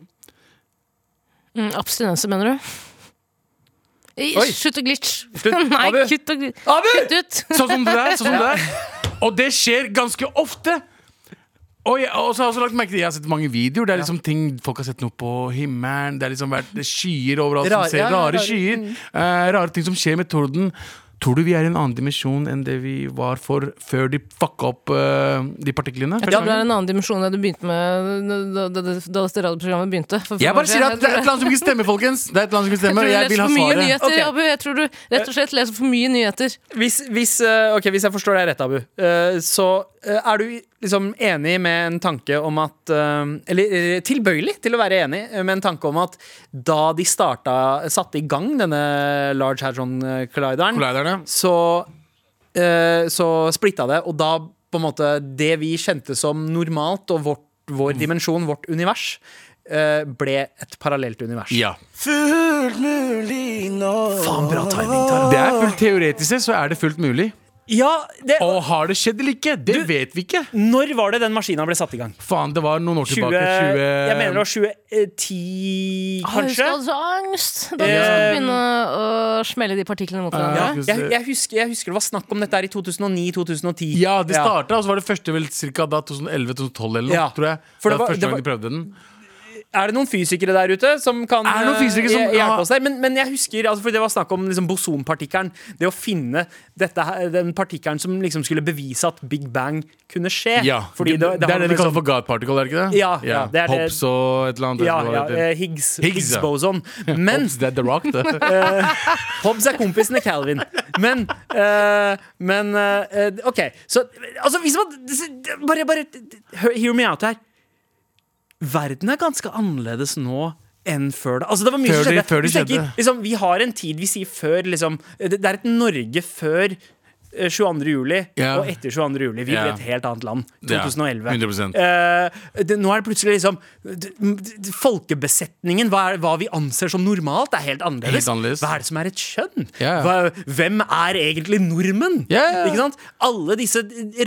Speaker 4: Mm, abstinense, mener du? I,
Speaker 3: Oi.
Speaker 4: Slutt å glitch.
Speaker 3: Slutt.
Speaker 4: *laughs* Nei,
Speaker 3: Abu.
Speaker 4: kutt og glitch.
Speaker 3: Abu!
Speaker 4: Kutt
Speaker 2: *laughs*
Speaker 4: ut.
Speaker 2: Sånn som det der. Sånn som det der. Og det skjer ganske ofte. Og, jeg, og så har jeg også lagt merke til Jeg har sett mange videoer. Det er liksom ting folk har sett noe på himmelen. Det er liksom vært det er skyer overalt.
Speaker 3: Rar-
Speaker 2: som ser,
Speaker 3: ja, ja,
Speaker 2: rare
Speaker 3: rare-
Speaker 2: skyer.
Speaker 4: mm.
Speaker 2: eh, rare ting som skjer med torden. Tror du vi er i en annen dimensjon enn det vi var for før de fucka opp eh, de partiklene?
Speaker 4: Jeg tror det er en annen dimensjon enn det du begynte med da, da, da, da dette radioprogrammet begynte. for fem
Speaker 2: Jeg bare
Speaker 4: år
Speaker 2: sier
Speaker 4: siden.
Speaker 2: at det er et eller annet som ikke stemmer, folkens. Det er et eller annet som
Speaker 4: Jeg tror du
Speaker 2: ikke stemmer, og
Speaker 4: leser
Speaker 2: jeg vil ha
Speaker 4: for mye
Speaker 2: svaret.
Speaker 4: nyheter,
Speaker 3: Ok.
Speaker 4: Abu. Jeg tror du rett og slett leser for mye nyheter.
Speaker 3: Hvis, hvis, eh, ok, hvis jeg forstår deg rett, Abu, eh, så eh, er du liksom enig med en tanke om at eh, Eller eh, tilbøyelig til å være enig eh, med en tanke om at da de starta, satte i gang denne Large Hadron eh, Collideren,
Speaker 2: Kolliderne.
Speaker 3: så, eh, så splitta det, og da på en måte Det vi kjente som normalt, og vårt,
Speaker 2: Mm.
Speaker 3: vår dimensjon, vårt univers, eh, ble et parallelt univers.
Speaker 2: Ja.
Speaker 3: Faen, bra timing, Tara.
Speaker 2: Det er fullt teoretisk sett, så er det fullt mulig.
Speaker 3: Ja, det,
Speaker 2: Og har det skjedd eller ikke? Det
Speaker 3: Du-
Speaker 2: vet vi ikke.
Speaker 3: når var det den maskina ble satt i gang?
Speaker 2: Faen, det var noen år tilbake.
Speaker 3: 20,
Speaker 2: 20...
Speaker 3: Jeg mener det var 2010, kanskje?
Speaker 4: Jeg hadde så angst da vi skulle
Speaker 3: Eh,
Speaker 4: begynne å smelle de partiklene mot
Speaker 3: Ja,
Speaker 4: hverandre.
Speaker 3: jeg, jeg, husker, jeg husker det var snakk om dette her i 2009-2010.
Speaker 2: Ja, det starta, og så var det første vel cirka da 2011-2012 eller noe,
Speaker 3: Ja.
Speaker 2: tror jeg.
Speaker 3: For
Speaker 2: det var,
Speaker 3: det var-
Speaker 2: første
Speaker 3: det
Speaker 2: gang
Speaker 3: var-
Speaker 2: de prøvde den.
Speaker 3: Er det noen fysikere der ute som kan
Speaker 2: Er det noen
Speaker 3: eh,
Speaker 2: fysikere som-
Speaker 3: hje-
Speaker 2: ja.
Speaker 3: hjelpe oss der? Men, men jeg husker, altså, for det var snakk om liksom, bosonpartikkelen. Det å finne dette her, den partikkelen som liksom skulle bevise at Big Bang kunne skje.
Speaker 2: Ja.
Speaker 3: Fordi det, det,
Speaker 2: er
Speaker 3: har
Speaker 2: det de
Speaker 3: med
Speaker 2: kaller
Speaker 3: sånn-
Speaker 2: for God Particle, er det ikke det?
Speaker 3: Ja, ja, det er det.
Speaker 2: Hops og et eller annet.
Speaker 3: ja,
Speaker 2: eller hva
Speaker 3: ja,
Speaker 2: det heter.
Speaker 3: eh, Higgs,
Speaker 2: Higgs,
Speaker 3: Higgs
Speaker 2: ja. *laughs*
Speaker 3: boson. Men
Speaker 2: Hops, det er The Rock, det.
Speaker 3: Hobbes er kompisen til Calvin. Men, eh, men eh, OK. Så altså, hvis man Bare, bare hø- hear me out her. Verden er ganske annerledes nå enn før det. Altså, det var mye
Speaker 2: Før
Speaker 3: som
Speaker 2: det-
Speaker 3: skjedde.
Speaker 2: før det
Speaker 3: Hvis jeg
Speaker 2: skjedde.
Speaker 3: Tenker, liksom, vi har en tid vi sier før liksom, Det det er et Norge før eh, 22. juli
Speaker 2: Ja.
Speaker 3: og etter 22. juli. Vi
Speaker 2: Ja.
Speaker 3: blir et helt annet land.
Speaker 2: Ja,
Speaker 3: 2011.
Speaker 2: 100%.
Speaker 3: Eh, det, nå er det plutselig liksom d, d, d, Folkebesetningen, hva, er, hva vi anser som normalt, er helt
Speaker 2: Helt
Speaker 3: annerledes.
Speaker 2: annerledes.
Speaker 3: Hva er det som er et kjønn?
Speaker 2: Ja, ja.
Speaker 3: Hva, hvem er egentlig nordmenn?
Speaker 2: Ja, ja, ja.
Speaker 3: Ikke sant? Alle disse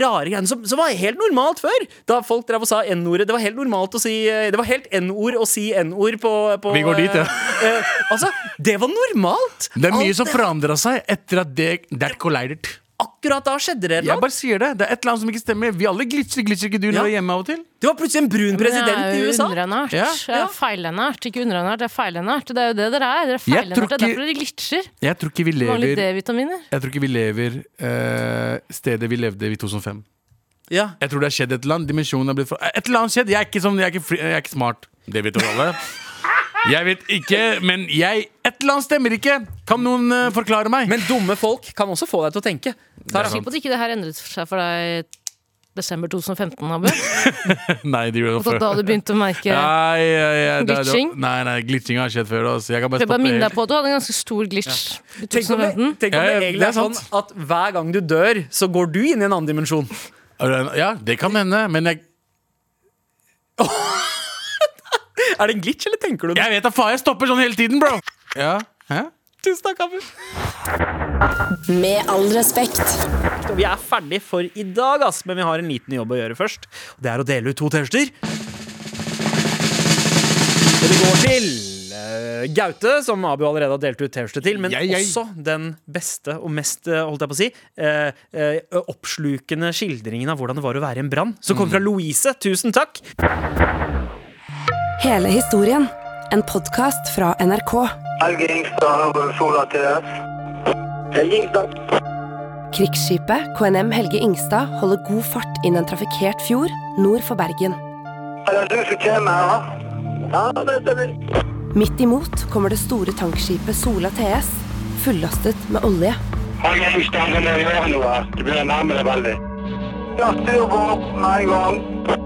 Speaker 3: rare greiene som, som var helt normalt før. Da folk drev og sa N-ordet. Det var helt normalt å si eh, Det var helt N-ord å si N-ord på, på
Speaker 2: Vi går dit, ja.
Speaker 3: eh, eh, altså, det var normalt!
Speaker 2: Det er mye
Speaker 3: Alt
Speaker 2: som forandra seg etter at det That collided.
Speaker 3: Akkurat da skjedde det
Speaker 2: Jeg
Speaker 3: noe.
Speaker 2: bare sier det. Det er et eller annet som ikke stemmer. Vi alle glitrer, glitrer ikke du når du
Speaker 3: Ja.
Speaker 2: er hjemme av og til?
Speaker 3: Det var plutselig en brun president
Speaker 4: Jeg
Speaker 3: i USA.
Speaker 4: er jo underernært.
Speaker 2: Ja.
Speaker 4: Jeg er feilernært, ikke underernært. Jeg er feilernært. Det er jo det dere er. Dere er
Speaker 2: Jeg tror
Speaker 4: feilernært. Det er
Speaker 2: ikke-
Speaker 4: derfor dere glitcher.
Speaker 2: Jeg tror ikke vi lever,
Speaker 4: Mangler D-vitaminer.
Speaker 2: jeg tror ikke vi lever eh, stedet vi levde i 2005.
Speaker 3: Ja.
Speaker 2: Jeg tror det har skjedd et eller annet. Dimensjonen har blitt for... Et eller annet skjedd. Jeg er ikke, sånn, jeg er ikke, fri, jeg er ikke smart. Det vet jo alle. Jeg vet ikke, men jeg Et eller annet stemmer ikke! Kan noen eh, forklare meg?
Speaker 3: Men dumme folk kan også få deg til å tenke. Tara.
Speaker 4: Sikker på at ikke det her endret seg for deg i desember 2015, Abu. Og
Speaker 2: nei, det gjorde
Speaker 4: at
Speaker 2: jeg
Speaker 4: da
Speaker 2: før.
Speaker 4: du begynte å merke
Speaker 2: Nei, ja, ja, det- det-
Speaker 4: Glitching?
Speaker 2: Nei, nei, glitching har skjedd før. Altså. Jeg kan bare
Speaker 4: Jeg bare
Speaker 2: stoppe
Speaker 4: minner deg
Speaker 2: helt.
Speaker 4: på at du hadde en ganske stor glitch i
Speaker 3: Tenk om det,
Speaker 4: 2015.
Speaker 3: tenk om
Speaker 2: Ja, ja,
Speaker 3: det egentlig
Speaker 2: det er
Speaker 3: er sånn
Speaker 2: sant.
Speaker 3: at hver gang du dør, så går du inn i en annen dimensjon.
Speaker 2: Ja, det kan hende, men jeg,
Speaker 3: Er det en glitch, eller tenker du det?
Speaker 2: jeg vet da faen. Jeg stopper sånn hele tiden, bro! Ja, Hæ?
Speaker 3: Tusen takk, Abu.
Speaker 1: Med all respekt.
Speaker 3: Og Vi er ferdig for i dag, ass, men vi har en liten jobb å gjøre først. Og Det er å dele ut to T-skjorter. Og det går til eh, Gaute, som Abu allerede har delt ut T-skjorte til, men
Speaker 2: Jeg, jeg.
Speaker 3: også den beste og mest eh, holdt jeg på å si, eh, eh, oppslukende skildringen av hvordan det var å være i en brann, som kom fra Louise. Tusen takk.
Speaker 8: Hele historien. En podkast fra NRK.
Speaker 9: Helge Ingstad over Sola TS. Helge Ingstad.
Speaker 8: Krigsskipet KNM Helge Ingstad holder god fart inn en trafikkert fjord nord for Bergen.
Speaker 9: det du som kommer her, va? Ja, det stemmer.
Speaker 8: Midt imot kommer det store tankskipet Sola TS, fullastet med olje.
Speaker 9: Hang husstanden nede i været nå, va? Du begynner å nærme deg veldig. Ja, styr på opp med en gang.